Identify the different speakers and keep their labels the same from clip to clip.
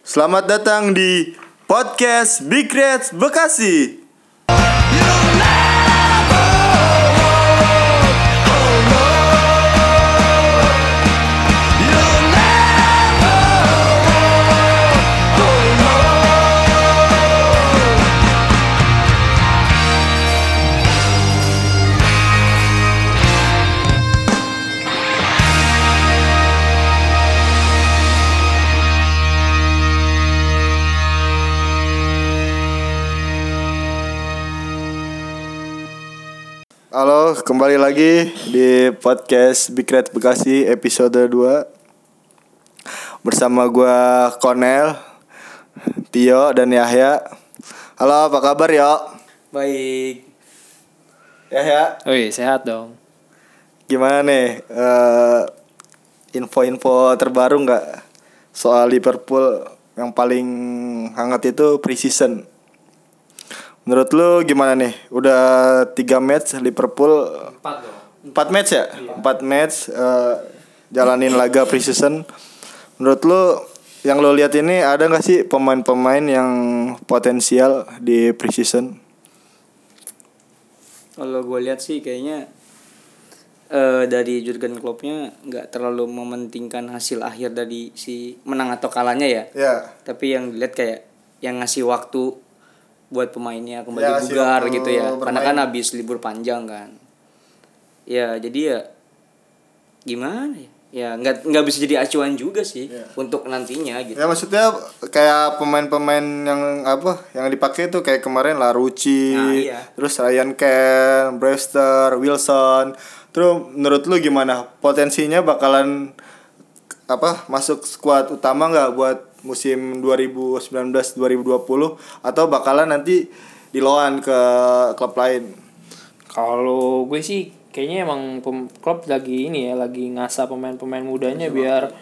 Speaker 1: Selamat datang di podcast Big Reds Bekasi. Halo, kembali lagi di podcast Big Reds Bekasi episode 2 Bersama gua Konel, Tio, dan Yahya Halo, apa kabar yo?
Speaker 2: Baik.
Speaker 1: Yahya,
Speaker 2: Wih, sehat dong.
Speaker 1: gimana nih eh, info-info terbaru nggak soal Liverpool yang paling hangat itu preseason menurut lu gimana nih udah tiga match Liverpool
Speaker 2: Empat dong. Iya.
Speaker 1: empat match ya empat match eh, jalanin laga preseason menurut lu yang lo lihat ini ada nggak sih pemain-pemain yang potensial di preseason
Speaker 2: Kalau gue lihat sih kayaknya eh dari Jurgen Kloppnya nggak terlalu mementingkan hasil akhir dari si menang atau kalahnya ya.
Speaker 1: ya
Speaker 2: Tapi yang dilihat kayak yang ngasih waktu buat pemainnya kembali
Speaker 1: Ya, ngasih
Speaker 2: bugar
Speaker 1: waktu
Speaker 2: gitu ya. Karena
Speaker 1: bermain.
Speaker 2: kan habis libur panjang kan. Ya jadi ya gimana ya? Ya nggak nggak bisa jadi acuan juga sih
Speaker 1: Ya.
Speaker 2: untuk nantinya gitu.
Speaker 1: Ya maksudnya kayak pemain-pemain yang apa yang dipakai tuh kayak kemarin Larucci,
Speaker 2: Nah, iya.
Speaker 1: terus Ryan Ken, Brewster, Wilson. Terus menurut lu gimana potensinya bakalan apa masuk skuad utama nggak buat musim 2019-2020 atau bakalan nanti diloan ke klub lain?
Speaker 3: Kalau gue sih kayaknya emang pem- Klopp lagi ini ya, lagi ngasah pemain-pemain mudanya biar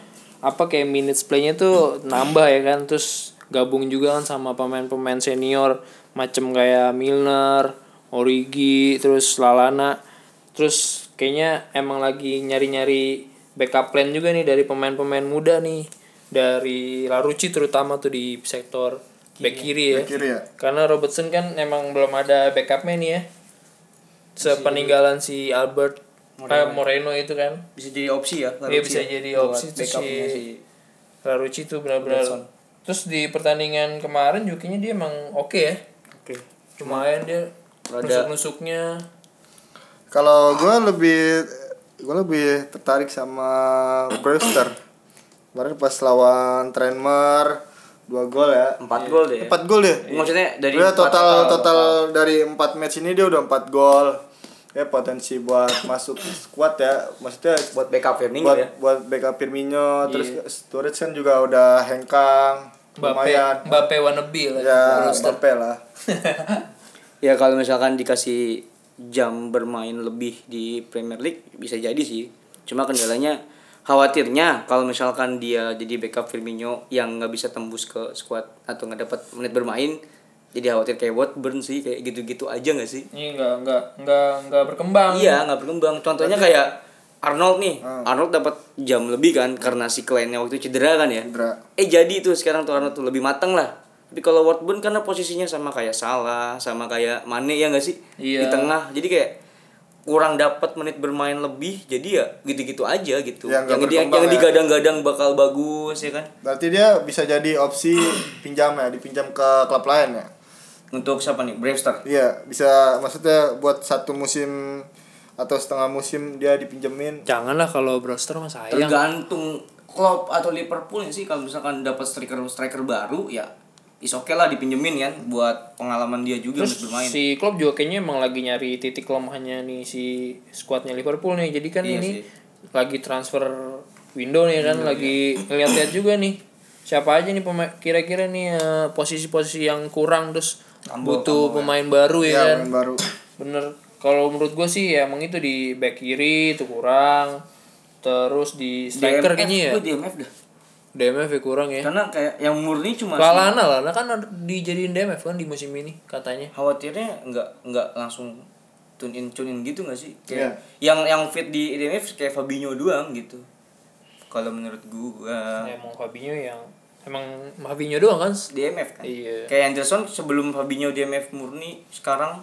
Speaker 3: apa kayak minutes playnya tuh nambah ya kan, terus gabung juga kan sama pemain-pemain senior macem kayak Milner, Origi, terus Lalana, terus kayaknya emang lagi nyari-nyari backup plan juga nih dari pemain-pemain muda nih dari Larucci terutama tuh di sektor back kiri ya.
Speaker 1: Back kiri ya.
Speaker 3: Karena Robertson kan emang belum ada backupnya nih ya. Sepeninggalan si Albert Moreno, Moreno itu kan.
Speaker 2: Bisa jadi opsi ya.
Speaker 3: Dia
Speaker 2: Larucci
Speaker 3: bisa
Speaker 2: ya,
Speaker 3: jadi
Speaker 2: buat
Speaker 3: opsi tuh si
Speaker 2: backupnya si
Speaker 3: Larucci tuh benar-benar. Terus di pertandingan kemarin juga kayaknya dia emang oke ya.
Speaker 2: Oke.
Speaker 3: Lumayan dia nusuk-nusuknya.
Speaker 1: Kalau gue lebih gue lebih tertarik sama Brewster. Kemarin pas lawan Tranmere dua gol ya.
Speaker 2: Empat gol deh.
Speaker 1: Empat gol ya.
Speaker 2: Maksudnya dari
Speaker 1: Dia
Speaker 2: empat
Speaker 1: total total dari empat match ini dia udah empat gol. Ya potensi buat masuk squad ya. Maksudnya
Speaker 2: buat backup Firmino
Speaker 1: buat
Speaker 2: ya. Iya.
Speaker 1: buat backup Firmino terus Sturridge kan juga udah hengkang.
Speaker 3: Mbappe,
Speaker 1: Lumayan.
Speaker 3: Mbappe wannabe lah.
Speaker 1: Ya, Mbappe lah.
Speaker 2: Ya kalau misalkan dikasih jam bermain lebih di Premier League bisa jadi sih. Cuma kendalanya khawatirnya kalau misalkan dia jadi backup Firmino yang nggak bisa tembus ke squad atau nggak dapat menit bermain jadi khawatir kayak Watburn sih kayak gitu-gitu aja nggak sih?
Speaker 3: Ini enggak enggak enggak enggak berkembang.
Speaker 2: Iya nggak berkembang. Contohnya kayak Arnold nih. Arnold dapat jam lebih kan karena si kliennya waktu itu cedera kan ya.
Speaker 1: Cedera.
Speaker 2: Eh jadi tuh sekarang tuh Arnold tuh lebih matang lah. Tapi kalau Wardburn karena posisinya sama kayak Salah, sama kayak Mane ya nggak sih?
Speaker 3: Iya.
Speaker 2: Di tengah. Jadi kayak kurang dapat menit bermain lebih. Jadi ya gitu-gitu aja gitu.
Speaker 1: Ya, nggak
Speaker 2: yang di-
Speaker 1: berkembang
Speaker 2: yang
Speaker 1: ya.
Speaker 2: digadang-gadang bakal bagus ya kan.
Speaker 1: Berarti dia bisa jadi opsi pinjam ya, dipinjam ke klub lain ya.
Speaker 2: Untuk siapa nih? Bravestar.
Speaker 1: Iya, bisa maksudnya buat satu musim atau setengah musim dia dipinjemin.
Speaker 3: Janganlah kalau Brewster mah sayang.
Speaker 2: Tergantung Klopp atau Liverpool sih kalau misalkan dapat striker striker baru ya is oke lah dipinjemin kan buat pengalaman dia juga
Speaker 3: Terus
Speaker 2: untuk bermain.
Speaker 3: si Klopp juga kayaknya emang lagi nyari titik lemahnya nih si skuadnya Liverpool nih. Jadi kan
Speaker 2: Iya
Speaker 3: ini
Speaker 2: sih. Iya,
Speaker 3: lagi transfer window nih kan lagi ngeliat-liat juga nih. Siapa aja nih pemain kira-kira nih eh, posisi-posisi yang kurang terus butuh pemain baru
Speaker 2: Iya,
Speaker 3: ya,
Speaker 1: Ya,
Speaker 3: kan.
Speaker 1: main baru.
Speaker 3: Bener. Kalau menurut gue sih ya emang itu di back kiri itu kurang. Terus di striker kayaknya ya.
Speaker 2: gue DMF dah.
Speaker 3: DMF ya kurang ya.
Speaker 2: Karena kayak yang murni cuma
Speaker 3: Lalana Lalana kan ada- dijadiin DMF kan di musim ini katanya.
Speaker 2: khawatirnya nggak nggak langsung tune in tune in gitu nggak sih?
Speaker 1: Iya.
Speaker 2: Kayak yang yang fit di DMF kayak Fabinho doang gitu. Kalau menurut gua
Speaker 3: Emang Fabinho yang Emang Fabinho doang kan?
Speaker 2: DMF kan
Speaker 3: Iya.
Speaker 2: kayak Anderson sebelum Fabinho DMF murni sekarang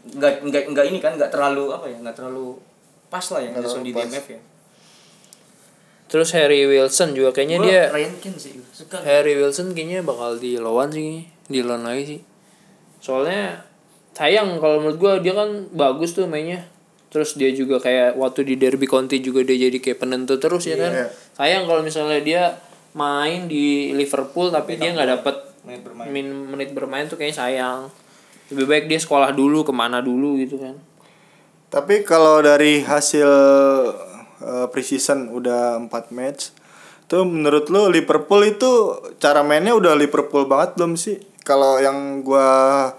Speaker 2: nggak nggak nggak ini kan nggak terlalu apa ya nggak terlalu pas lah ya
Speaker 1: Nggak
Speaker 2: Anderson di
Speaker 1: terlalu pas.
Speaker 2: DMF ya
Speaker 3: Terus Harry Wilson juga kayaknya
Speaker 2: Gua
Speaker 3: dia
Speaker 2: Ryan Kent Oh, sih gua suka
Speaker 3: Harry Wilson kayaknya bakal dilawan sih, dilawan lagi sih. Soalnya sayang kalau menurut gua dia kan bagus tuh mainnya. Terus dia juga kayak waktu di Derby County juga dia jadi kayak penentu terus ya kan.
Speaker 1: Iya.
Speaker 3: Sayang kalau misalnya dia main di Liverpool tapi dia nggak dapat
Speaker 2: main bermain
Speaker 3: min menit bermain tuh kayaknya sayang. Lebih baik dia sekolah dulu kemana dulu gitu kan.
Speaker 1: Tapi kalau dari hasil eh, preseason udah 4 match, tuh menurut lu Liverpool itu cara mainnya udah Liverpool banget belum sih? Kalau yang gua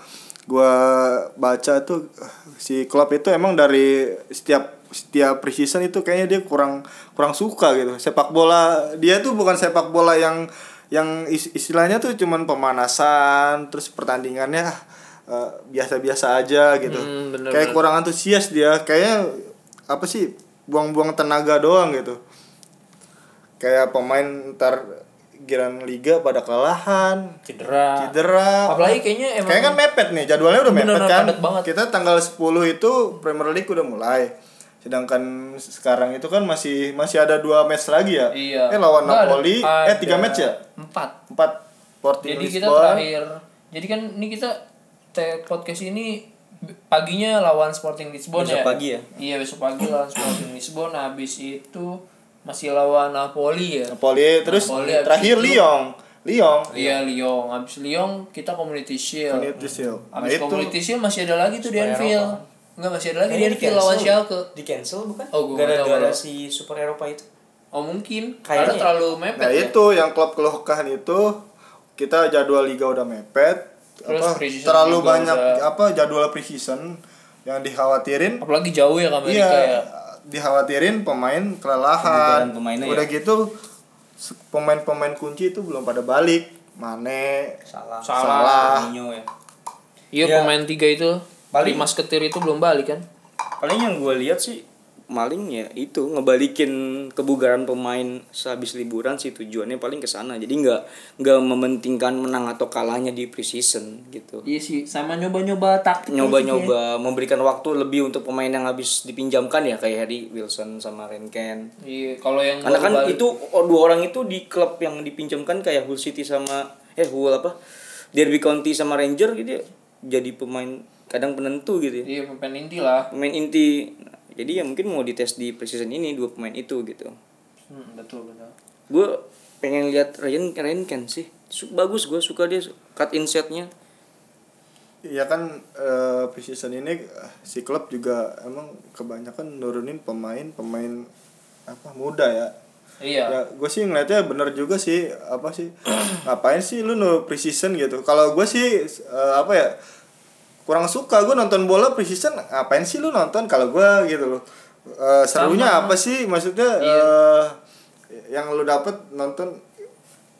Speaker 1: gua baca tuh si Klopp itu emang dari setiap setiap preseason itu kayaknya dia kurang kurang suka gitu. Sepak bola dia tuh bukan sepak bola yang yang is- istilahnya tuh cuman pemanasan terus pertandingannya eh, biasa-biasa aja gitu.
Speaker 3: Hmm, bener,
Speaker 1: Kayak kurang antusias dia kayaknya apa sih buang-buang tenaga doang gitu kayak pemain ntar giran liga pada kelelahan
Speaker 3: Cedera.
Speaker 1: cedera
Speaker 3: Ah, Apalagi kayaknya emang
Speaker 1: kayaknya kan mepet nih jadwalnya udah
Speaker 3: Bener-bener
Speaker 1: mepet kan
Speaker 3: padat banget.
Speaker 1: kita tanggal 10 itu Premier League udah mulai sedangkan sekarang itu kan masih masih ada dua match lagi ya
Speaker 3: Iya.
Speaker 1: eh lawan
Speaker 3: Nggak ada-
Speaker 1: Napoli eh tiga
Speaker 3: ada
Speaker 1: match ya
Speaker 3: Empat.
Speaker 1: empat Sporting
Speaker 3: Jadi kita
Speaker 1: Lisbon.
Speaker 3: terakhir. Jadi kan ini kita te- podcast ini b- paginya lawan Sporting Lisbon
Speaker 2: Besok
Speaker 3: ya.
Speaker 2: pagi ya?
Speaker 3: Iya besok pagi lawan Sporting Lisbon. Habis itu masih lawan Napoli ya.
Speaker 1: Napoli terus
Speaker 3: Napoli habis
Speaker 1: terakhir
Speaker 3: itu.
Speaker 1: Lyon Lyon
Speaker 3: Iya Lyon. Habis Lyon kita Community Shield.
Speaker 1: Community Shield. Nah, itu-
Speaker 3: Habis Community Shield masih ada lagi tuh di
Speaker 2: Supaya
Speaker 3: Anfield.
Speaker 2: Eropa.
Speaker 3: Enggak masih ada lagi di
Speaker 2: Kayaknya
Speaker 3: Anfield
Speaker 2: di-cancel
Speaker 3: lawan
Speaker 2: ya?
Speaker 3: Schalke.
Speaker 2: di cancel bukan
Speaker 3: Oh, gua nggak tahu,
Speaker 2: gara-gara
Speaker 3: Bang.
Speaker 2: si Super Eropa itu
Speaker 3: Oh mungkin. Karena
Speaker 2: Kayaknya.
Speaker 3: terlalu mepet
Speaker 1: Nah
Speaker 3: ya.
Speaker 1: itu yang klub keluhkan itu kita jadwal liga udah mepet,
Speaker 3: Terus
Speaker 1: apa
Speaker 3: pre-season
Speaker 1: terlalu
Speaker 3: juga
Speaker 1: banyak
Speaker 3: udah-
Speaker 1: apa jadwal preseason yang dikhawatirin,
Speaker 3: Apalagi jauh ya ke
Speaker 1: iya
Speaker 3: Amerika ya.
Speaker 1: dikhawatirin pemain kelelahan,
Speaker 2: Kebugaran pemainnya
Speaker 1: udah
Speaker 2: ya.
Speaker 1: gitu se- pemain-pemain kunci itu belum pada balik, Mane,
Speaker 2: salah
Speaker 3: Salah.
Speaker 2: Mourinho ya
Speaker 3: Iya
Speaker 2: Iya.
Speaker 3: pemain tiga itu
Speaker 2: Balik.
Speaker 3: Mas Ketir itu belum balik kan?
Speaker 2: paling yang gue lihat sih maling ya itu ngebalikin kebugaran pemain sehabis liburan sih tujuannya paling ke sana jadi nggak nggak mementingkan menang atau kalahnya di preseason gitu
Speaker 3: Iya sih, sama nyoba-nyoba taktik. gitu ya.
Speaker 2: nyoba-nyoba memberikan waktu lebih untuk pemain yang habis dipinjamkan ya kayak Harry Wilson sama Renken
Speaker 3: Iya, kalau yang
Speaker 2: karena kan
Speaker 3: baru balik-
Speaker 2: itu oh, dua orang itu di klub yang dipinjamkan kayak Hull City sama eh Hull apa Derby County sama Ranger gitu ya, jadi pemain kadang penentu gitu ya
Speaker 3: iya pemain inti lah.
Speaker 2: pemain inti Nah, jadi ya mungkin mau dites di preseason ini dua pemain itu gitu
Speaker 3: Hmm, betul betul.
Speaker 2: gue pengen lihat Ryan Ryan Ken sih Su- bagus gue suka dia cut insetnya
Speaker 1: Iya kan eh, preseason ini eh, si klub juga emang kebanyakan nurunin pemain-pemain apa muda ya.
Speaker 3: Iya.
Speaker 1: Ya, gue sih ngeliatnya bener juga sih apa sih ngapain sih lu no preseason gitu kalau gue sih eh, apa ya kurang suka gue nonton bola preseason ngapain sih lu nonton kalau gue gitu loh Eh, serunya apa sih maksudnya
Speaker 2: Iya.
Speaker 1: eh, yang lu dapet nonton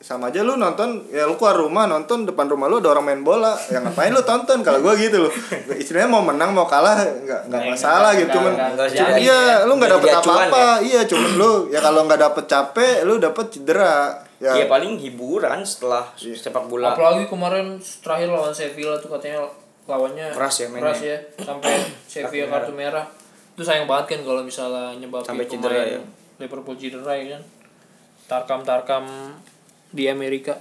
Speaker 1: sama aja lu nonton ya lu keluar rumah nonton depan rumah lu ada orang main bola ya ngapain lu tonton kalau gue gitu loh istilahnya mau menang mau kalah nggak nggak masalah gitu cuman
Speaker 2: nggak- nggak
Speaker 1: cuman-
Speaker 2: jadi
Speaker 1: iya
Speaker 2: ya.
Speaker 1: lu nggak
Speaker 2: Jadi
Speaker 1: dapet
Speaker 2: acuan
Speaker 1: apa-apa
Speaker 2: ya.
Speaker 1: iya cuman lu ya kalau nggak dapet capek lu dapet cedera ya, Iya.
Speaker 2: ya paling hiburan setelah sepak bola
Speaker 3: Apalagi kemarin terakhir lawan Sevilla tuh katanya lawannya
Speaker 2: Keras ya mainnya.
Speaker 3: keras ya sampai Sevilla kartu merah. Itu sayang banget kan kalau misalnya nyebabin
Speaker 2: Sampai
Speaker 3: pemain
Speaker 2: cedera ya.
Speaker 3: Liverpool cedera ya kan. Tarkam-tarkam di Amerika.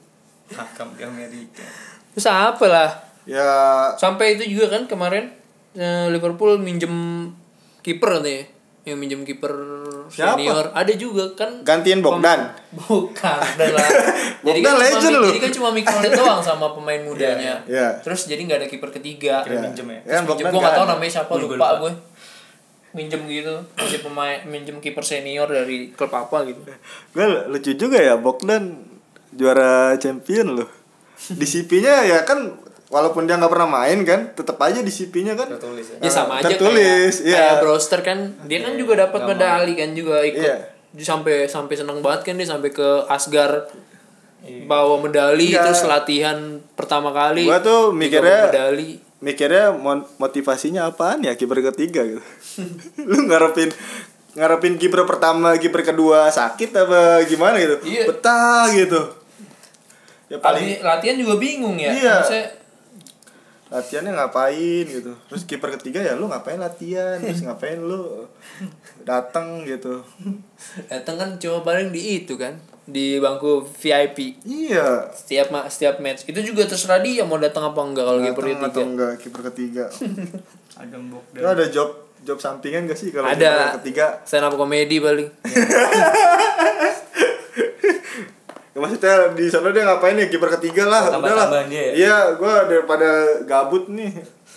Speaker 2: hakam di Amerika
Speaker 3: Terus apa lah?
Speaker 1: ya
Speaker 3: Sampai itu juga kan kemarin eh, Liverpool minjem kiper katanya. Yang minjem kiper
Speaker 1: Siapa?
Speaker 3: senior ada juga kan
Speaker 1: gantiin Bogdan
Speaker 3: bukan udah lah. jadi
Speaker 1: Bogdan
Speaker 3: kan
Speaker 1: legend
Speaker 3: cuma,
Speaker 1: lu.
Speaker 3: jadi kan cuma Mignolet doang sama pemain mudanya.
Speaker 1: Iya.
Speaker 3: Terus jadi nggak ada kiper ketiga.
Speaker 2: Kira minjem ya?
Speaker 1: Kan
Speaker 3: Minjem
Speaker 1: Bogdan
Speaker 3: gue nggak
Speaker 1: kan.
Speaker 3: tahu namanya siapa
Speaker 2: Gua juga
Speaker 3: lupa
Speaker 2: lupa.
Speaker 3: gue. Minjem gitu, minjem pemain, minjem kiper senior dari klub apa gitu.
Speaker 1: gue lucu juga ya Bogdan juara champion loh disipinya ya kan walaupun dia nggak pernah main kan tetap aja disipinya kan
Speaker 2: tertulis ya
Speaker 3: Ya sama aja
Speaker 1: Tertulis,
Speaker 3: kayak,
Speaker 1: iya.
Speaker 3: kayak Brewster kan dia kan juga dapat medali kan juga ikut.
Speaker 1: Iya.
Speaker 3: Dia sampai sampai senang banget kan dia sampai ke Asgar bawa medali
Speaker 1: Iya.
Speaker 3: terus latihan pertama kali.
Speaker 1: Gua tuh
Speaker 3: dia
Speaker 1: mikirnya-
Speaker 3: bawa medali.
Speaker 1: mikirnya mon- motivasinya apaan ya kiper ketiga gitu lu ngarepin ngarepin kiper pertama kiper kedua sakit apa gimana gitu
Speaker 3: Iya.
Speaker 1: betah gitu ya
Speaker 3: Tapi
Speaker 1: paling
Speaker 3: latihan juga bingung ya.
Speaker 1: Iya.
Speaker 3: Maksudnya,
Speaker 1: latihannya ngapain gitu terus kiper ketiga ya lu ngapain latihan terus ngapain lu datang gitu
Speaker 3: datang kan cuma paling di itu kan di bangku VIP
Speaker 1: iya
Speaker 3: setiap ma- setiap match itu juga terserah dia mau datang apa enggak kalau ya. kiper
Speaker 1: datang atau
Speaker 3: ketiga
Speaker 1: enggak kiper ketiga
Speaker 2: Ada mbok
Speaker 1: Lu ada job job sampingan gak sih kalau kiper
Speaker 3: ada
Speaker 1: ketiga
Speaker 3: stand up komedi paling
Speaker 1: Ya, maksudnya di sana dia ngapain ya kiper ketiga lah udahlah
Speaker 2: Tambah-tambahan dia ya?
Speaker 1: iya gue daripada gabut nih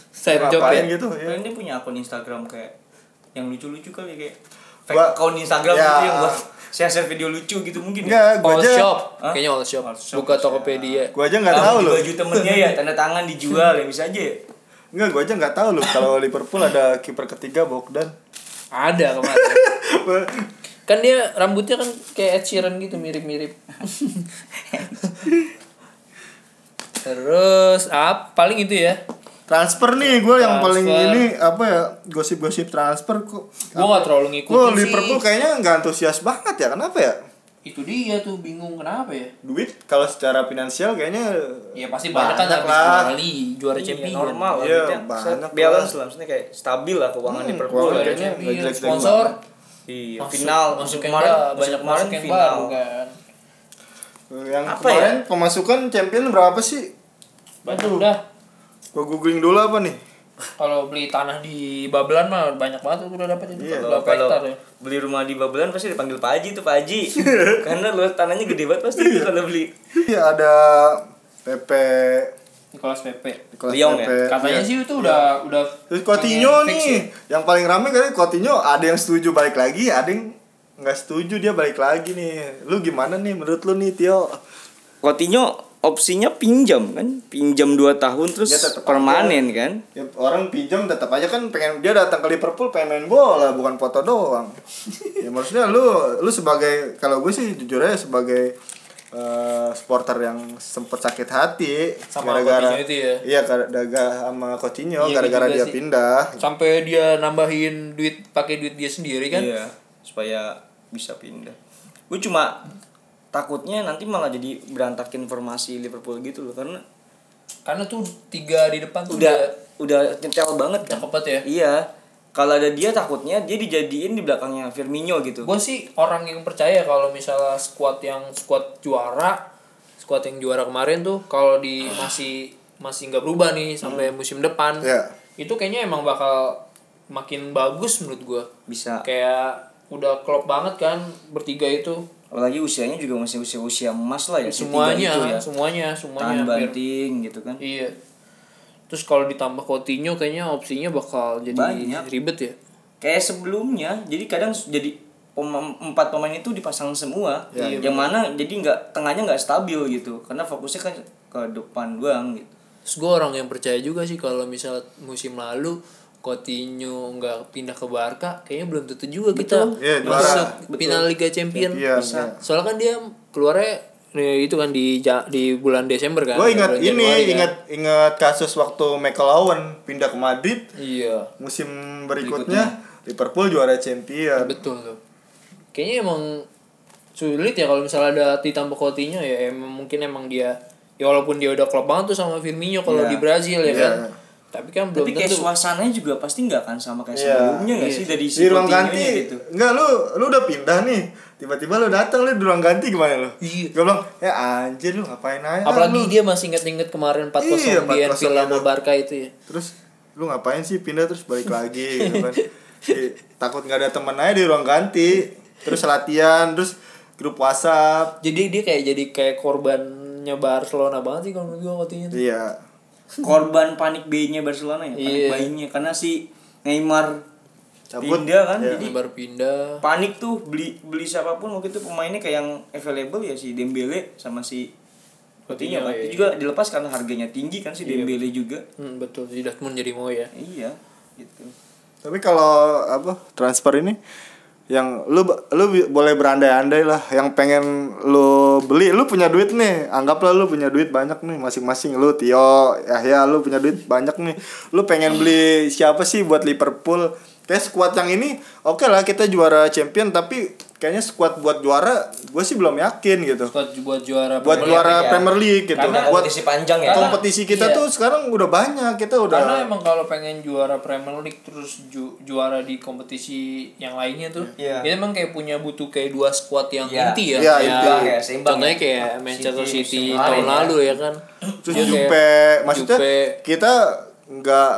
Speaker 3: Side job
Speaker 1: ngapain
Speaker 3: ya?
Speaker 1: gitu ya
Speaker 2: Kalian dia punya akun Instagram kayak yang lucu-lucu kali kayak fake
Speaker 1: Gua-
Speaker 2: account Instagram
Speaker 1: Ya.
Speaker 2: gitu yang buat share-share video lucu gitu mungkin
Speaker 1: enggak gue
Speaker 3: all
Speaker 1: aja
Speaker 3: shop
Speaker 2: Hah?
Speaker 3: kayaknya all shop
Speaker 2: All shop,
Speaker 3: buka
Speaker 2: ya.
Speaker 3: tokopedia
Speaker 1: gue aja nggak tahu
Speaker 2: Tahu
Speaker 1: loh
Speaker 2: baju temennya ya tanda tangan dijual ya bisa aja. ya.
Speaker 1: enggak gue aja nggak tahu loh kalau Liverpool ada kiper ketiga Bogdan
Speaker 3: ada kemarin kan dia rambutnya kan kayak Ed Sheeran gitu mirip-mirip terus apa paling itu ya
Speaker 1: transfer nih gue yang
Speaker 3: Transfer.
Speaker 1: paling ini apa ya gosip-gosip transfer kok
Speaker 3: gua gak terlalu ngikutin
Speaker 1: Lo
Speaker 3: sih
Speaker 1: Liverpool kan? kayaknya nggak antusias banget ya kenapa ya
Speaker 3: itu dia tuh bingung kenapa ya
Speaker 1: duit kalau secara finansial kayaknya
Speaker 3: ya pasti banyak kan
Speaker 1: Banyak
Speaker 3: habis
Speaker 1: lah.
Speaker 3: kali juara
Speaker 2: Iya,
Speaker 3: champion
Speaker 2: normal lah.
Speaker 1: Iya,
Speaker 2: duitnya.
Speaker 1: banyak
Speaker 2: Set-
Speaker 1: lah.
Speaker 2: Balance lah maksudnya kayak stabil lah keuangan
Speaker 1: Hmm,
Speaker 2: Liverpool.
Speaker 1: keuangan
Speaker 2: ya.
Speaker 1: Juara Champion, nggak jelek-jelek
Speaker 3: sponsor
Speaker 2: Iya,
Speaker 3: masuk-
Speaker 2: final
Speaker 3: masuk
Speaker 2: musim
Speaker 3: yang
Speaker 2: kemarin,
Speaker 3: ba-
Speaker 2: musim
Speaker 3: banyak
Speaker 2: kemarin
Speaker 3: masuk yang
Speaker 2: final.
Speaker 3: baru kan
Speaker 1: yang
Speaker 2: Apa
Speaker 1: kemarin
Speaker 3: ya?
Speaker 1: pemasukan champion berapa sih
Speaker 3: banyak udah
Speaker 1: gue googling dulu apa nih
Speaker 3: kalau beli tanah di Babelan mah banyak banget tuh udah dapat itu
Speaker 1: Iya.
Speaker 3: berapa
Speaker 2: kalau
Speaker 3: hektar ya
Speaker 2: beli rumah di Babelan pasti dipanggil Pak Haji tuh Pak Haji karena luas tanahnya gede banget pasti itu kalau beli
Speaker 1: iya ada PP
Speaker 3: Nicolas Pepe
Speaker 1: Nicolas
Speaker 2: Lyon ya?
Speaker 3: katanya
Speaker 1: iya.
Speaker 3: sih itu udah udah
Speaker 1: terus Coutinho
Speaker 3: fix ya.
Speaker 1: nih yang paling rame katanya Coutinho ada yang setuju balik lagi ada yang nggak setuju dia balik lagi nih lu gimana nih menurut lu nih Tio
Speaker 4: Coutinho opsinya pinjam kan pinjam 2 tahun terus
Speaker 2: Ya,
Speaker 1: Dia tetap
Speaker 4: permanen kan
Speaker 1: Ya, orang pinjam tetap aja kan pengen dia datang ke Liverpool pengen main bola bukan foto doang. ya maksudnya lu lu sebagai kalau gue sih jujur aja sebagai eh, supporter yang sempet sakit hati
Speaker 3: Sama Coutinho itu ya?
Speaker 1: Iya gara-gara sama Coutinho
Speaker 3: Iya,
Speaker 1: gara-gara
Speaker 3: juga
Speaker 1: dia
Speaker 3: sih.
Speaker 1: pindah.
Speaker 3: ya. sampai dia nambahin duit pakai duit dia sendiri kan
Speaker 2: iya supaya bisa pindah gue cuma takutnya nanti malah jadi berantakin formasi Liverpool gitu loh karena
Speaker 3: karena tuh tiga di depan tuh
Speaker 2: udah udah nyetel banget kan
Speaker 3: Iya. cakep banget ya
Speaker 2: iya kalau ada dia takutnya dia dijadiin di belakangnya Firmino gitu
Speaker 3: gue sih orang yang percaya kalau misalnya squad yang squad juara squad yang juara kemarin tuh kalau di masih masih nggak berubah nih sampai musim depan
Speaker 1: Ya.
Speaker 3: itu kayaknya emang bakal makin bagus menurut gue
Speaker 2: bisa
Speaker 3: kayak udah klop banget kan bertiga itu
Speaker 2: apalagi usianya juga masih usia usia emas lah ya si tiga
Speaker 3: semuanya
Speaker 2: itu ya
Speaker 3: semuanya
Speaker 2: tahan
Speaker 3: semuanya hampir.
Speaker 2: banting gitu kan
Speaker 3: iya terus kalau ditambah Coutinho kayaknya opsinya bakal jadi
Speaker 2: Banyak.
Speaker 3: ribet ya
Speaker 2: kayak sebelumnya jadi kadang s- jadi pema- empat pemain itu dipasang semua
Speaker 3: Iya,
Speaker 2: yang mana jadi nggak tengahnya nggak stabil gitu karena fokusnya kan ke depan doang gitu
Speaker 3: Terus gue orang yang percaya juga sih kalau misal musim lalu Coutinho nggak pindah ke Barca, kayaknya belum tentu juga kita
Speaker 1: Iya, juara.
Speaker 3: masuk final Liga Champion.
Speaker 1: Iya. iya.
Speaker 3: Soalnya kan dia keluarnya nih, itu kan di Ja- di bulan Desember kan.
Speaker 1: Gue ingat
Speaker 3: bulan
Speaker 1: ini,
Speaker 3: Januari kan.
Speaker 1: ingat ingat kasus waktu McLawan pindah ke Madrid
Speaker 3: Iya,
Speaker 1: musim berikutnya, Liverpool juara champion.
Speaker 3: betul tuh. Kayaknya emang sulit ya kalau misalnya ada ditambah Coutinho ya emang mungkin emang dia ya walaupun dia udah klop banget tuh sama Firmino kalau
Speaker 2: Iya.
Speaker 3: di Brazil ya
Speaker 1: Iya.
Speaker 3: kan. Tapi kan belum
Speaker 2: tapi kayak
Speaker 3: tentu.
Speaker 2: suasananya juga pasti nggak akan sama kayak
Speaker 1: Iya.
Speaker 2: sebelumnya nggak
Speaker 3: Iya.
Speaker 2: sih dari si
Speaker 1: di ruang
Speaker 2: Coutinho-nya
Speaker 1: ganti
Speaker 2: gitu
Speaker 1: enggak lu lu udah pindah nih tiba-tiba lu datang lu di ruang ganti gimana lu
Speaker 3: Iya.
Speaker 1: gue bilang ya anjir lu ngapain aja
Speaker 3: Apalagi
Speaker 1: lu?"
Speaker 3: dia masih inget-inget kemarin
Speaker 1: Iya,
Speaker 3: 4-0 di
Speaker 1: 4-0
Speaker 3: Anfield sama
Speaker 1: itu.
Speaker 3: Barca itu ya.
Speaker 1: terus lu ngapain sih pindah terus balik lagi gitu kan Di- takut nggak ada teman aja di ruang ganti terus latihan terus grup WhatsApp
Speaker 3: Jadi dia kayak jadi kayak korbannya Barcelona banget sih kalau menurut gue Coutinho tuh.
Speaker 1: iya
Speaker 2: korban panik bayinya Barcelona ya panik
Speaker 3: Iya.
Speaker 2: bayinya karena si Neymar
Speaker 1: Cabut.
Speaker 2: pindah kan
Speaker 1: Iya.
Speaker 2: jadi
Speaker 3: Baru pindah.
Speaker 2: panik tuh beli beli siapapun waktu itu pemainnya kayak yang available ya si Dembele sama si Coutinho kan
Speaker 1: iya.
Speaker 2: itu juga dilepas karena harganya tinggi kan si Dembele juga
Speaker 3: Hmm, betul si Dortmund jadi mau ya.
Speaker 2: iya gitu
Speaker 1: tapi kalau apa transfer ini yang lu ba- lu bi- boleh berandai-andai lah yang pengen lu beli lu punya duit nih anggaplah lu punya duit banyak nih masing-masing lu Tio Yahya lu punya duit banyak nih lu pengen beli siapa sih buat Liverpool kayak squad yang ini oke lah kita juara champion tapi kayaknya squad buat juara gue sih belum yakin gitu.
Speaker 3: buat buat juara
Speaker 1: Buat
Speaker 3: Premier
Speaker 1: juara
Speaker 3: League ya.
Speaker 1: Premier League gitu.
Speaker 5: Karena
Speaker 1: buat
Speaker 5: kompetisi panjang ya.
Speaker 3: Karena-
Speaker 1: kompetisi kita
Speaker 3: iya.
Speaker 1: tuh sekarang udah banyak kita udah
Speaker 3: karena emang kalau pengen juara Premier League terus ju- juara di kompetisi yang lainnya tuh
Speaker 5: Iya.
Speaker 3: itu emang kayak punya butuh kayak dua squad yang
Speaker 5: Iya.
Speaker 3: inti ya
Speaker 1: Iya,
Speaker 3: Kayak-
Speaker 1: inti.
Speaker 5: Kayak seimbang
Speaker 3: contohnya
Speaker 5: ya.
Speaker 3: kayak Manchester
Speaker 5: City
Speaker 3: City,
Speaker 5: musim
Speaker 3: tahun
Speaker 5: kemarin ya.
Speaker 3: lalu ya kan
Speaker 1: terus
Speaker 3: Dia kayak-
Speaker 1: Jupe maksudnya
Speaker 3: Jupe.
Speaker 1: kita nggak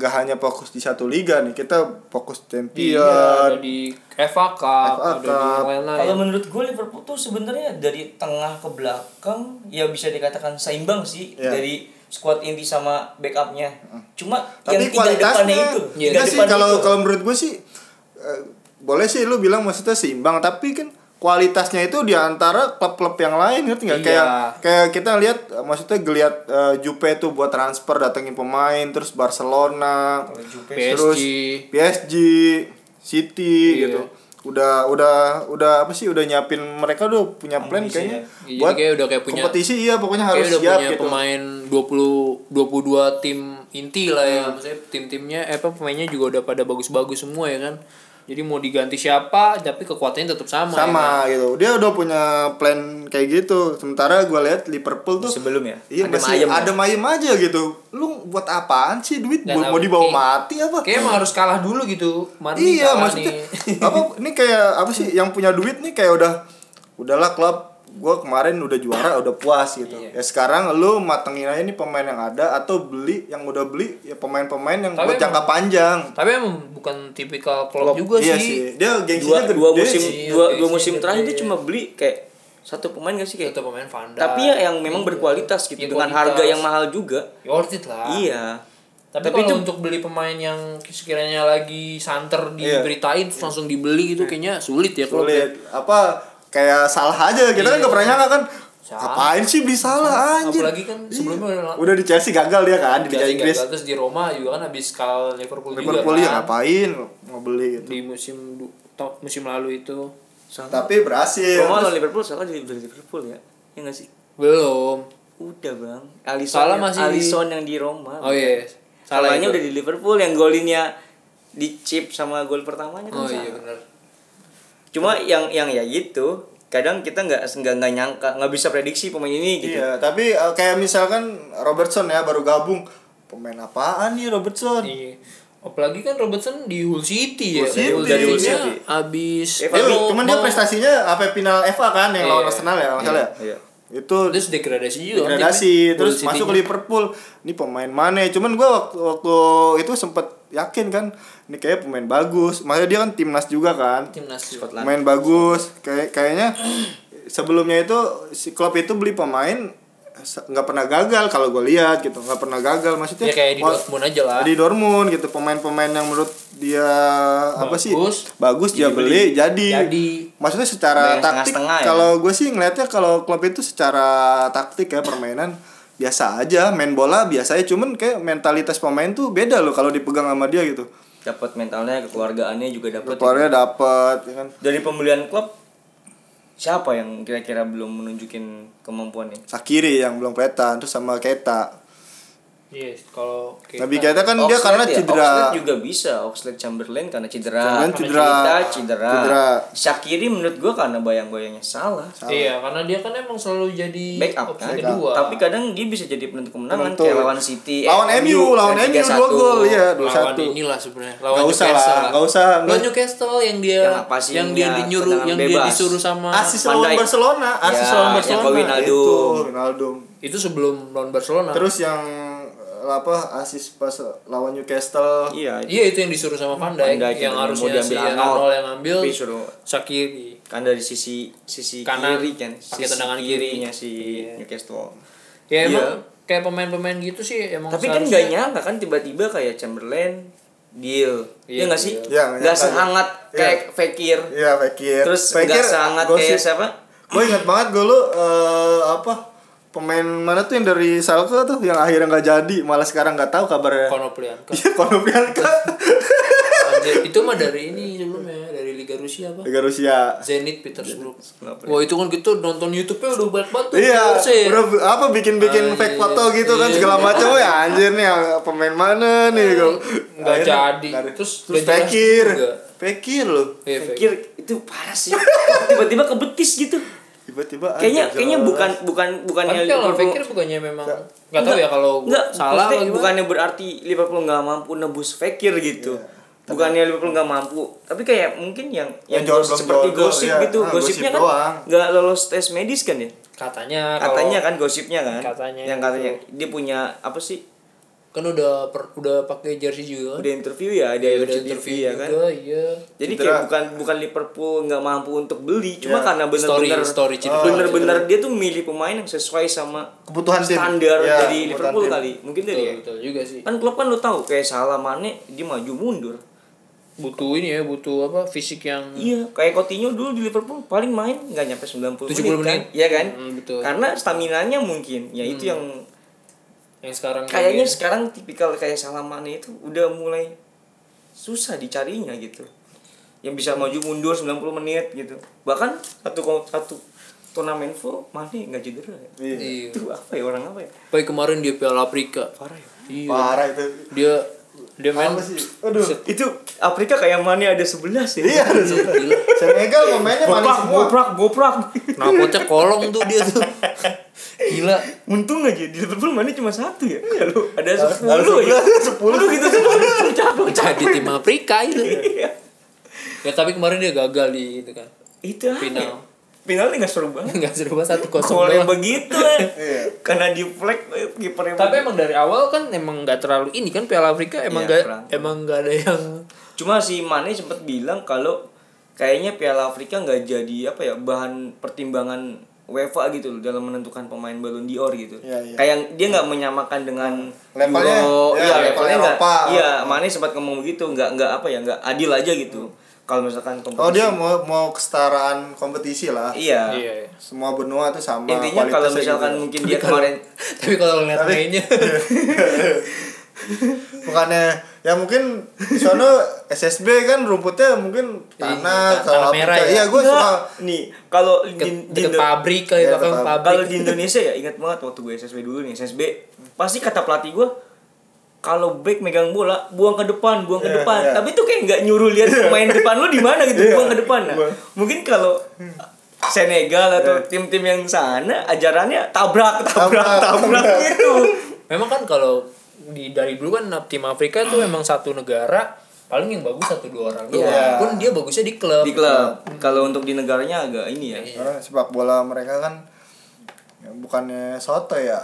Speaker 1: nggak hanya fokus di satu liga nih kita fokus
Speaker 3: Iya, ada
Speaker 1: champion
Speaker 3: di FA Cup,
Speaker 1: FA
Speaker 3: ada di ya. yang
Speaker 1: Cup.
Speaker 3: lain-lain.
Speaker 5: Kalau menurut gue Liverpool tuh sebenarnya dari tengah ke belakang ya bisa dikatakan seimbang sih
Speaker 1: Iya. Hmm.
Speaker 5: dari squad inti sama backupnya. Cuma yang
Speaker 1: tapi
Speaker 5: tiga depannya
Speaker 1: kualitasnya
Speaker 5: itu,
Speaker 3: Iya.
Speaker 5: tiga
Speaker 1: enggak sih
Speaker 5: depan
Speaker 1: kalau
Speaker 5: itu.
Speaker 1: kalau menurut gue sih eh, boleh sih lu bilang maksudnya seimbang tapi kan kualitasnya itu di antara klub-klub yang lain ngerti nggak
Speaker 3: Iya.
Speaker 1: kayak kayak kita lihat eh, maksudnya geliat eh, Jupe itu buat transfer datengin pemain terus Barcelona
Speaker 5: Kalau Jupe
Speaker 3: PSG.
Speaker 1: terus PSG City
Speaker 3: Iya.
Speaker 1: gitu udah udah udah apa sih udah nyiapin mereka udah punya plan
Speaker 5: Ambisi
Speaker 1: kayaknya
Speaker 3: Iya, jadi kayak udah kayak punya-
Speaker 1: kompetisi iya pokoknya harus
Speaker 3: Kayak udah
Speaker 1: siap
Speaker 3: punya
Speaker 1: gitu
Speaker 3: pemain 20 22 tim inti lah ya. Maksudnya tim-timnya eh apa pemainnya juga udah pada bagus-bagus semua ya kan. Jadi mau diganti siapa tapi kekuatannya tetap sama.
Speaker 1: sama
Speaker 3: Ya kan?
Speaker 1: gitu dia udah punya plan kayak gitu sementara gue lihat Liverpool tuh
Speaker 5: sebelum ya.
Speaker 1: iya
Speaker 5: Adem
Speaker 1: masih
Speaker 5: ayem.
Speaker 1: ada mayem aja gitu lu buat apaan sih duit
Speaker 3: Nggak
Speaker 1: buat mau
Speaker 3: tahu.
Speaker 1: dibawa
Speaker 3: Kayak-
Speaker 1: mati apa
Speaker 3: Kayaknya emang harus kalah dulu gitu. Mandi
Speaker 1: iya
Speaker 3: kalah
Speaker 1: maksudnya
Speaker 3: nih.
Speaker 1: apa ini kayak apa sih yang punya duit nih kayak udah udahlah klub gue kemarin udah juara udah puas gitu
Speaker 3: Iya.
Speaker 1: ya sekarang lu matengin aja nih pemain yang ada atau beli yang udah beli ya pemain-pemain yang
Speaker 3: Tapi
Speaker 1: buat jangka
Speaker 3: emang-
Speaker 1: panjang
Speaker 3: Tapi emang bukan tipikal klub juga
Speaker 1: iya
Speaker 3: sih.
Speaker 1: sih dia
Speaker 2: dua
Speaker 1: gengsinya gede
Speaker 2: dua musim
Speaker 3: sih,
Speaker 2: dua
Speaker 3: oke
Speaker 2: dua
Speaker 3: sih,
Speaker 2: musim
Speaker 3: gede.
Speaker 2: terakhir dia cuma beli kayak satu pemain gak sih kayak
Speaker 3: Itu Iya, pemain Van Dijk.
Speaker 2: tapi ya yang memang
Speaker 3: Iya.
Speaker 2: berkualitas gitu
Speaker 3: Iya,
Speaker 2: dengan
Speaker 3: kualitas.
Speaker 2: harga yang mahal juga
Speaker 3: Ya, worth it lah.
Speaker 2: iya
Speaker 3: Tapi,
Speaker 2: Tapi
Speaker 3: kalau
Speaker 2: itu-
Speaker 3: untuk beli pemain yang sekiranya lagi santer
Speaker 1: Iya.
Speaker 3: diberitain terus langsung dibeli gitu kayaknya sulit ya kalau
Speaker 1: sulit apa kayak salah aja kita kan gak pernah nyangka kan
Speaker 3: Salah.
Speaker 1: apain sih beli salah anjir
Speaker 3: Apalagi kan sebelumnya
Speaker 1: Iya.
Speaker 3: udah-
Speaker 1: udah di Chelsea gagal dia kan di Liga
Speaker 3: Jadi
Speaker 1: Inggris
Speaker 3: gagal terus di Roma juga kan habis kalah Liverpool,
Speaker 1: Liverpool ya
Speaker 3: juga kan.
Speaker 1: ngapain mau beli gitu
Speaker 3: Di musim du- to- musim lalu itu
Speaker 2: salah
Speaker 1: tapi berhasil
Speaker 2: Roma lawan Liverpool salah jadi dari Liverpool ya ya nggak sih
Speaker 3: belum.
Speaker 2: udah bang Alisson
Speaker 3: Salah
Speaker 2: yang-
Speaker 3: masih di-
Speaker 2: Alisson yang di Roma
Speaker 3: Oh iya. Salah
Speaker 2: salahnya
Speaker 3: itu.
Speaker 2: udah di Liverpool yang golinnya di chip sama gol pertamanya kan
Speaker 3: Oh iya
Speaker 2: salah.
Speaker 3: benar.
Speaker 2: cuma yang yang ya gitu kadang kita nggak nggak nggak nyangka nggak bisa prediksi pemain ini gitu
Speaker 1: Iya, tapi eh, kayak misalkan Robertson ya baru gabung. Pemain apaan nih Robertson?
Speaker 3: Iya. Apalagi kan Robertson di Hull City ya.
Speaker 1: Hull City.
Speaker 3: Dari Hull
Speaker 1: Iya.
Speaker 3: City. Abis
Speaker 1: Dia, cuman dia prestasinya apa final FA kan yang lawan
Speaker 3: Iya.
Speaker 1: Arsenal ya, masalah
Speaker 2: iya.
Speaker 1: Itu
Speaker 3: terus degradasi juga. kan
Speaker 1: degradasi
Speaker 3: timnya.
Speaker 1: terus
Speaker 3: Hull
Speaker 1: masuk ke
Speaker 3: City-nya.
Speaker 1: Liverpool ini pemain mana ya? cuman gua waktu, waktu itu sempet yakin kan ini kayak pemain bagus maksudnya dia kan timnas juga kan
Speaker 3: timnas Scotland.
Speaker 1: pemain bagus kayak kayaknya sebelumnya itu si klub itu beli pemain se- nggak pernah gagal kalau gue lihat gitu nggak pernah gagal maksudnya
Speaker 3: Ya kayak di
Speaker 1: wal-
Speaker 3: Dortmund aja lah.
Speaker 1: di Dortmund gitu pemain-pemain yang menurut dia apa sih
Speaker 3: Bagus.
Speaker 1: bagus dia beli, jadi
Speaker 3: Jadi.
Speaker 1: maksudnya secara
Speaker 2: Beli yang
Speaker 1: taktik
Speaker 2: setengah-setengah ya.
Speaker 1: kalau gue sih ngelihatnya kalau klub itu secara taktik ya permainan biasa aja main bola biasa aja cuman kayak mentalitas pemain tuh beda loh kalau dipegang sama dia gitu
Speaker 2: dapat mentalnya kekeluargaannya juga dapat
Speaker 1: keluarnya dapat ya kan
Speaker 2: dari pembelian klub siapa yang kira-kira belum menunjukin kemampuannya
Speaker 1: Sakiri yang belum kelihatan terus sama Keta
Speaker 3: Yes, Iya, kalau
Speaker 1: Nabi Keita kan dia
Speaker 2: Oxlade
Speaker 1: karena
Speaker 2: ya,
Speaker 1: cedera.
Speaker 2: Oxlade juga bisa Oxlade Chamberlain karena cedera
Speaker 1: Chamberlain cedera.
Speaker 2: Kita cedera.
Speaker 1: Cedera.
Speaker 2: Shakiri menurut gua karena bayang-bayangnya salah
Speaker 3: Iya, karena dia kan emang selalu jadi
Speaker 2: backup
Speaker 3: opsi
Speaker 2: kan
Speaker 3: kedua.
Speaker 2: tapi kadang dia bisa jadi penentu
Speaker 1: Penentu.
Speaker 2: kemenangan kan kayak lawan City eh,
Speaker 1: Lawan MU, lawan
Speaker 2: yang
Speaker 1: MU
Speaker 2: 3-1.
Speaker 1: dua gol, iya.
Speaker 3: lawan
Speaker 1: 21.
Speaker 3: inilah sebenarnya.
Speaker 1: Nggak usah lah,
Speaker 3: Newcastle.
Speaker 1: nggak usah,
Speaker 3: Lawan
Speaker 1: nggak-
Speaker 3: Newcastle yang dia
Speaker 2: Yang
Speaker 3: yang,
Speaker 2: passing-nya,
Speaker 3: dia dinyuruh yang
Speaker 2: tendangan
Speaker 3: dia
Speaker 2: bebas.
Speaker 3: disuruh sama
Speaker 1: asis
Speaker 2: Van
Speaker 1: lawan
Speaker 2: Dijk.
Speaker 1: Barcelona asis
Speaker 2: Ya,
Speaker 1: lawan
Speaker 2: yang
Speaker 1: Barcelona
Speaker 2: ke Wijnaldum.
Speaker 1: itu Wijnaldum.
Speaker 3: itu sebelum lawan Barcelona.
Speaker 1: terus yang eh, apa asis pas lawan Newcastle
Speaker 2: iya
Speaker 3: iya itu yang disuruh sama Van Dijk,
Speaker 2: Van Dijk
Speaker 3: yang
Speaker 2: yang
Speaker 3: harusnya
Speaker 2: mau
Speaker 3: si
Speaker 2: diambil
Speaker 3: Arnold,
Speaker 2: Arnold.
Speaker 3: yang ambil
Speaker 2: Tapi suruh-
Speaker 3: Sakiri.
Speaker 2: kan dari sisi sisi
Speaker 3: Kanan,
Speaker 2: kiri kan
Speaker 3: pakai
Speaker 2: Sisi
Speaker 3: tendangan kiri.
Speaker 2: kirinya si Newcastle
Speaker 3: Ya
Speaker 2: Iya.
Speaker 3: emang kayak pemain-pemain gitu sih emang
Speaker 2: tapi kan
Speaker 3: seharusnya-
Speaker 2: gak nyangka kan tiba-tiba kayak Chamberlain deal Iya
Speaker 3: Iya,
Speaker 2: nggak sih
Speaker 1: Iya,
Speaker 3: deal.
Speaker 1: nggak
Speaker 2: nggak
Speaker 1: nyangka.
Speaker 2: sehangat
Speaker 1: Iya.
Speaker 2: kayak Fekir
Speaker 1: Iya, Fekir.
Speaker 2: terus nggak sehangat kayak siapa
Speaker 1: Gue ingat banget gue lu eh, apa pemain mana tuh yang dari Salke tuh yang akhirnya nggak jadi, malah sekarang nggak tahu kabarnya.
Speaker 3: Konoplianka.
Speaker 1: Iya, Konoplianka.
Speaker 3: Anjir, itu mah dari ini sebelumnya dari Liga Rusia apa?
Speaker 1: Liga Rusia.
Speaker 3: Zenit Petersburg. Wah itu kan gitu nonton YouTube-nya udah banyak banget tuh.
Speaker 1: Iya,
Speaker 3: viewers-nya ya.
Speaker 1: udah bu- apa bikin-bikin
Speaker 3: Anjir.
Speaker 1: fake foto gitu kan
Speaker 3: Ah, Iya.
Speaker 1: segala macam ya anjir nih pemain mana nih gue.
Speaker 3: nggak jadi. Terus
Speaker 1: terus
Speaker 3: nggak jelas
Speaker 1: Fekir.
Speaker 3: juga.
Speaker 1: Fekir loh.
Speaker 3: Iya,
Speaker 2: Fekir itu parah sih. Tiba-tiba ke betis gitu.
Speaker 1: Tiba-tiba
Speaker 2: Kayaknya
Speaker 1: ada
Speaker 2: kayaknya
Speaker 1: Jawa.
Speaker 2: bukan bukan bukannya
Speaker 3: Tapi kalau
Speaker 2: Liverpool-
Speaker 3: pikir bukannya memang nggak tahu ya kalau
Speaker 2: Nggak,
Speaker 3: salah
Speaker 2: maksudnya
Speaker 3: atau gimana.
Speaker 2: bukannya berarti Liverpool nggak mampu nebus Fekir gitu. Bukannya Liverpool nggak mampu, tapi kayak mungkin yang
Speaker 1: Iya, Yang
Speaker 2: yang,
Speaker 1: jual
Speaker 2: gosip-
Speaker 1: belum
Speaker 2: seperti
Speaker 1: jual,
Speaker 2: gosip
Speaker 1: iya.
Speaker 2: gitu,
Speaker 1: Ah,
Speaker 2: gosipnya
Speaker 1: gosip doang.
Speaker 2: kan nggak lolos tes medis kan ya?
Speaker 3: katanya Nah, kalau-
Speaker 2: Katanya kan gosipnya kan.
Speaker 3: Katanya
Speaker 2: yang katanya dia punya apa sih?
Speaker 3: kan udah per- udah pakai jersey juga kan
Speaker 2: Udah interview ya, dia
Speaker 3: udah
Speaker 2: interview, ya kan.
Speaker 3: juga iya
Speaker 2: Jadi
Speaker 1: Cedera.
Speaker 2: kayak bukan bukan Liverpool nggak mampu untuk beli, cuma
Speaker 1: Iya.
Speaker 2: karena bener-bener Oh,
Speaker 3: Story- story cedera.
Speaker 2: bener-bener dia tuh milih pemain yang sesuai sama
Speaker 1: kebutuhan tim.
Speaker 2: standar
Speaker 1: Iya, kebutuhan
Speaker 2: dari Liverpool
Speaker 1: tim.
Speaker 2: kali. Mungkin dari
Speaker 3: betul,
Speaker 2: ya.
Speaker 3: betul juga sih
Speaker 2: Kan klub kan lo tahu kayak salah Mane dia maju mundur.
Speaker 3: butuh ini ya butuh apa fisik yang
Speaker 2: Iya, kayak Coutinho dulu di Liverpool paling main nggak nyampe 90 menit.
Speaker 3: 70 menit.
Speaker 2: Kan? Iya kan?
Speaker 3: Hmm, betul.
Speaker 2: Karena staminanya mungkin, ya itu yang
Speaker 3: yang sekarang
Speaker 2: kayaknya
Speaker 3: kayak-
Speaker 2: sekarang tipikal kayak Salamane itu udah mulai susah dicarinya gitu. Yang bisa maju mundur 90 menit gitu. Bahkan satu ko- satu turnamen full Mane nggak cedera. ya.
Speaker 1: Iya.
Speaker 3: iya.
Speaker 2: Itu apa ya orang apa ya?
Speaker 3: Baik kemarin dia Piala Afrika.
Speaker 2: Parah ya.
Speaker 3: Iya.
Speaker 1: Parah itu.
Speaker 3: Dia dia main
Speaker 1: Apa sih? Aduh.
Speaker 3: Set.
Speaker 2: Itu Afrika kayak Mane ada 11 ya.
Speaker 1: Iya.
Speaker 3: Gila.
Speaker 1: Senegal pemainnya mana
Speaker 2: Goprak,
Speaker 1: semua.
Speaker 2: goprak, goprak. Nah,
Speaker 3: Knalpotnya kolong tuh dia tuh. Gila.
Speaker 2: Untung aja di Liverpool mana cuma satu ya. Kalau ada
Speaker 1: Kalau
Speaker 2: 10 ya.
Speaker 1: sebelah, Iya. sepuluh.
Speaker 2: Udah gitu semua cabang
Speaker 3: Jadi tim Afrika itu.
Speaker 2: Iya.
Speaker 3: Ya tapi kemarin dia gagal di itu kan.
Speaker 2: Itu aja.
Speaker 3: Final.
Speaker 2: Finalnya nggak seru banget.
Speaker 3: Enggak seru banget 1-0.
Speaker 2: Soalnya
Speaker 3: doang.
Speaker 2: begitu ya.
Speaker 1: Iya.
Speaker 2: Karena di flag eh, kipernya.
Speaker 3: Tapi emang dari awal kan emang nggak terlalu ini kan Piala Afrika emang
Speaker 2: Iya,
Speaker 3: nggak
Speaker 2: kurang.
Speaker 3: emang nggak ada yang
Speaker 2: cuma si Mane sempat bilang kalau kayaknya Piala Afrika nggak jadi apa ya bahan pertimbangan UEFA gitu loh dalam menentukan pemain Ballon d'Or gitu.
Speaker 1: Iya, iya.
Speaker 2: Kayak dia nggak menyamakan dengan
Speaker 1: Levelnya,
Speaker 2: Euro,
Speaker 1: iya,
Speaker 2: iya,
Speaker 1: level
Speaker 2: levelnya nggak.
Speaker 1: Eropa.
Speaker 2: Iya, Mane sempat ngomong begitu, nggak nggak apa ya, nggak adil aja gitu. Kalau misalkan kompetisi.
Speaker 1: Oh dia mau mau kesetaraan kompetisi lah.
Speaker 2: Iya.
Speaker 3: Iya.
Speaker 1: Semua benua tuh sama.
Speaker 2: Intinya kalau
Speaker 1: kualitasnya
Speaker 2: misalkan
Speaker 1: gitu.
Speaker 2: mungkin dia kemarin
Speaker 3: Tapi kalau ngeliat mainnya
Speaker 1: bukannya ya mungkin di sono SSB kan rumputnya mungkin
Speaker 2: Iya,
Speaker 1: tanah
Speaker 3: tanah
Speaker 1: kalau
Speaker 3: merah
Speaker 1: Afrika.
Speaker 3: ya.
Speaker 1: Iya gue suka
Speaker 2: nih kalau di,
Speaker 3: deket,
Speaker 2: di,
Speaker 3: deket
Speaker 1: Iya,
Speaker 3: pabrik kayak
Speaker 1: deket
Speaker 3: belakang
Speaker 1: pabrik.
Speaker 2: kalau
Speaker 3: pabrik.
Speaker 2: di Indonesia ya ingat banget waktu gue SSB dulu nih SSB pasti kata pelatih gue kalau back megang bola buang ke depan buang ke
Speaker 1: Iya,
Speaker 2: depan
Speaker 1: iya.
Speaker 2: tapi itu kayak nggak nyuruh lihat pemain depan lu di mana gitu
Speaker 1: Iya,
Speaker 2: buang ke depan nah,
Speaker 1: buang. Iya.
Speaker 2: mungkin kalau Senegal atau tim-tim yang sana ajarannya tabrak tabrak
Speaker 1: Tabrak, Iya.
Speaker 2: tabrak
Speaker 1: tabrak.
Speaker 2: gitu
Speaker 3: Memang kan kalau di dari dulu kan tim Afrika tuh memang satu negara paling yang bagus satu dua orang doang.
Speaker 1: Iya.
Speaker 3: Pun dia bagusnya di klub.
Speaker 2: di klub kalau untuk di negaranya agak ini ya
Speaker 1: Karena sepak bola mereka kan ya, bukannya soto ya.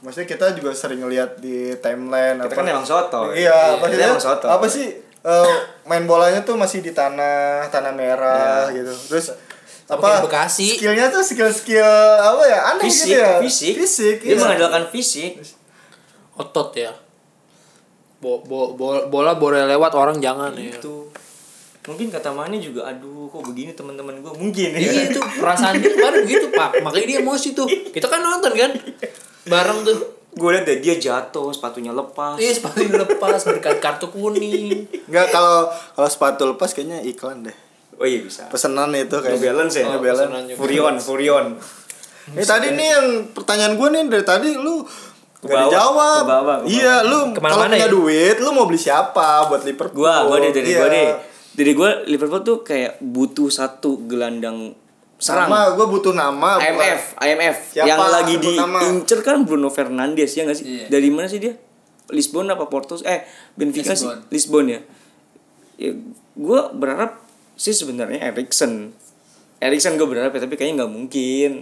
Speaker 1: Maksudnya kita juga sering lihat di timeline
Speaker 2: kita kan emang soto
Speaker 1: Iya,
Speaker 2: kita
Speaker 1: maksudnya
Speaker 2: emang soto
Speaker 1: apa sih eh, main bolanya tuh masih di tanah tanah merah
Speaker 2: Iya.
Speaker 1: gitu. Terus
Speaker 3: kayak
Speaker 1: apa
Speaker 3: di Bekasi.
Speaker 1: skillnya tuh skill-skill apa ya aneh
Speaker 2: fisik
Speaker 1: gitu ya
Speaker 2: fisik
Speaker 1: fisik iya.
Speaker 2: dia mengandalkan fisik
Speaker 3: Otot ya. Bo, bo, bo- bola boleh lewat orang jangan ya.
Speaker 2: itu gitu. mungkin kata Mane juga aduh kok begini teman-teman gue mungkin ya
Speaker 3: Iya itu perasaan dia kemarin begitu pak. Makanya dia emosi tuh. Kita kan nonton kan bareng tuh.
Speaker 2: gue liat deh, dia jatuh sepatunya lepas
Speaker 3: Iya sepatu lepas berkat kartu kuning.
Speaker 1: Enggak kalau kalau sepatu lepas kayaknya iklan deh.
Speaker 2: oh iya bisa
Speaker 1: Pesenan itu
Speaker 2: New
Speaker 1: kayak
Speaker 2: Balance ya
Speaker 1: New Balance.
Speaker 3: pesenan juga.
Speaker 2: Furion Furion
Speaker 1: Eh tadi nih yang pertanyaan gue nih dari tadi lu
Speaker 2: bawah,
Speaker 1: Gak dijawab
Speaker 2: ke bawah, ke
Speaker 1: Iya lu kalau
Speaker 3: Kemana-mana
Speaker 1: punya
Speaker 3: ya?
Speaker 1: duit Lu mau beli siapa buat Liverpool
Speaker 2: gue gue deh dari
Speaker 1: Iya.
Speaker 2: gue deh dari gue Liverpool tuh kayak butuh satu gelandang serang
Speaker 1: Sama gue butuh nama bukan-
Speaker 2: IMF IMF
Speaker 1: Siapa?
Speaker 2: yang lagi
Speaker 1: Sebut nama.
Speaker 2: diincer kan Bruno Fernandes ya nggak sih
Speaker 3: Iya.
Speaker 2: dari mana sih dia Lisbon apa Porto eh Benfica sih Lisbon
Speaker 3: Lisbon.
Speaker 2: ya, ya gue berharap sih sebenarnya Erikson Erikson gue berharap ya tapi kayaknya nggak mungkin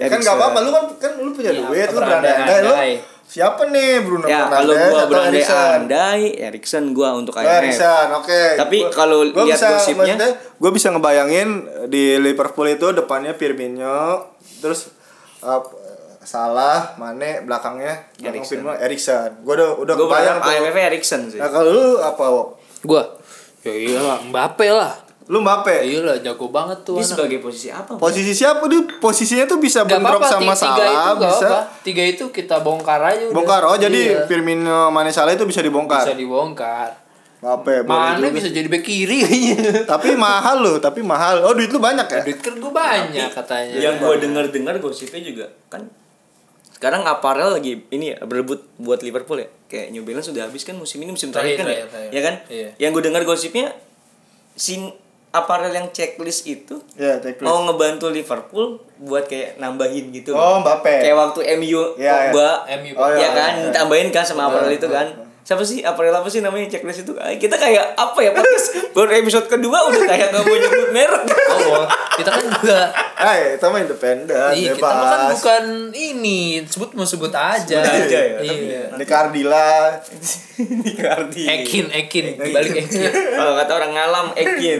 Speaker 1: Ya kan gak apa-apa Lu kan, kan lu punya
Speaker 3: Iya,
Speaker 1: duit Lu berandai
Speaker 3: berandai-andai.
Speaker 1: Lu siapa nih Bruno
Speaker 2: ya kalau
Speaker 1: Fernandes
Speaker 2: gue
Speaker 1: atau Alisson?
Speaker 2: berandai Erikson gue untuk
Speaker 1: Oh,
Speaker 2: IMF
Speaker 1: Alisson, oke.
Speaker 2: Tapi
Speaker 1: Gua-
Speaker 2: kalau
Speaker 1: gua
Speaker 2: lihat
Speaker 1: bisa-
Speaker 2: gosipnya-
Speaker 1: maksudnya, gua bisa ngebayangin di Liverpool itu depannya Firmino, terus uh, Salah, Mane, belakangnya belakang
Speaker 2: Erikson.
Speaker 1: Firmino, Erikson. Gua udah udah
Speaker 2: gue
Speaker 1: kebayang
Speaker 2: berharap
Speaker 1: tuh.
Speaker 2: IMF Erikson sih
Speaker 1: Nah, kalau lu apa, Wok?
Speaker 3: Gua ya iyalah Mbappe lah.
Speaker 1: Lu Mbappe.
Speaker 3: Iyalah jago banget tuh.
Speaker 2: dia
Speaker 3: anak.
Speaker 2: sebagai posisi apa
Speaker 1: Posisi siapa dia? Posisinya tuh bisa
Speaker 3: Gak
Speaker 1: bentrok
Speaker 3: apa-apa,
Speaker 1: sama
Speaker 3: ti- tiga
Speaker 1: Salah,
Speaker 3: itu gak
Speaker 1: bisa
Speaker 3: apa. Tiga itu kita bongkar aja udah.
Speaker 1: bongkar. Oh, jadi
Speaker 3: Iya.
Speaker 1: Firmino, Mane, Salah itu bisa
Speaker 3: bisa
Speaker 1: dibongkar.
Speaker 3: dibongkar.
Speaker 1: Mbappe, Ya, boleh
Speaker 3: Mana
Speaker 1: juga.
Speaker 3: bisa jadi bek kiri kayaknya.
Speaker 1: Tapi mahal loh, tapi mahal. Oh, duit lu banyak ya?
Speaker 3: Duit kan gue banyak katanya.
Speaker 2: yang gue denger dengar gosipnya juga kan sekarang aparel lagi ini ya, berebut buat Liverpool ya kayak New Balance sudah habis kan musim ini musim terakhir
Speaker 3: Terakhir,
Speaker 2: kan ya
Speaker 3: terakhir, terakhir.
Speaker 2: ya kan
Speaker 3: Iya.
Speaker 2: yang gue dengar gosipnya sin aparel yang checklist itu
Speaker 1: Ya, take
Speaker 2: mau ngebantu Liverpool buat kayak nambahin gitu
Speaker 1: Oh, Mbappe.
Speaker 2: kayak waktu MU
Speaker 1: Ya, ya.
Speaker 2: Pogba
Speaker 3: MU,
Speaker 1: Oh,
Speaker 2: ya
Speaker 1: iya,
Speaker 2: kan
Speaker 1: iya, iya.
Speaker 2: tambahin kan sama aparel itu kan siapa sih aparel apa sih namanya checklist itu Ah, kita kayak apa ya podcast baru episode kedua udah kayak nggak mau nyebut merek
Speaker 3: Oh, kita kan juga
Speaker 1: Eh, kita mah independen,
Speaker 3: iya, kita mah kan
Speaker 1: bebas.
Speaker 3: bukan ini, sebut mau sebut aja.
Speaker 2: Sebut aja ya, tapi-
Speaker 3: Iya.
Speaker 1: Ini Cardila.
Speaker 2: di
Speaker 1: Iya,
Speaker 2: Cardi
Speaker 3: Ekin, Ekin, balik Ekin.
Speaker 2: Eh, kalau kata orang ngalam Ekin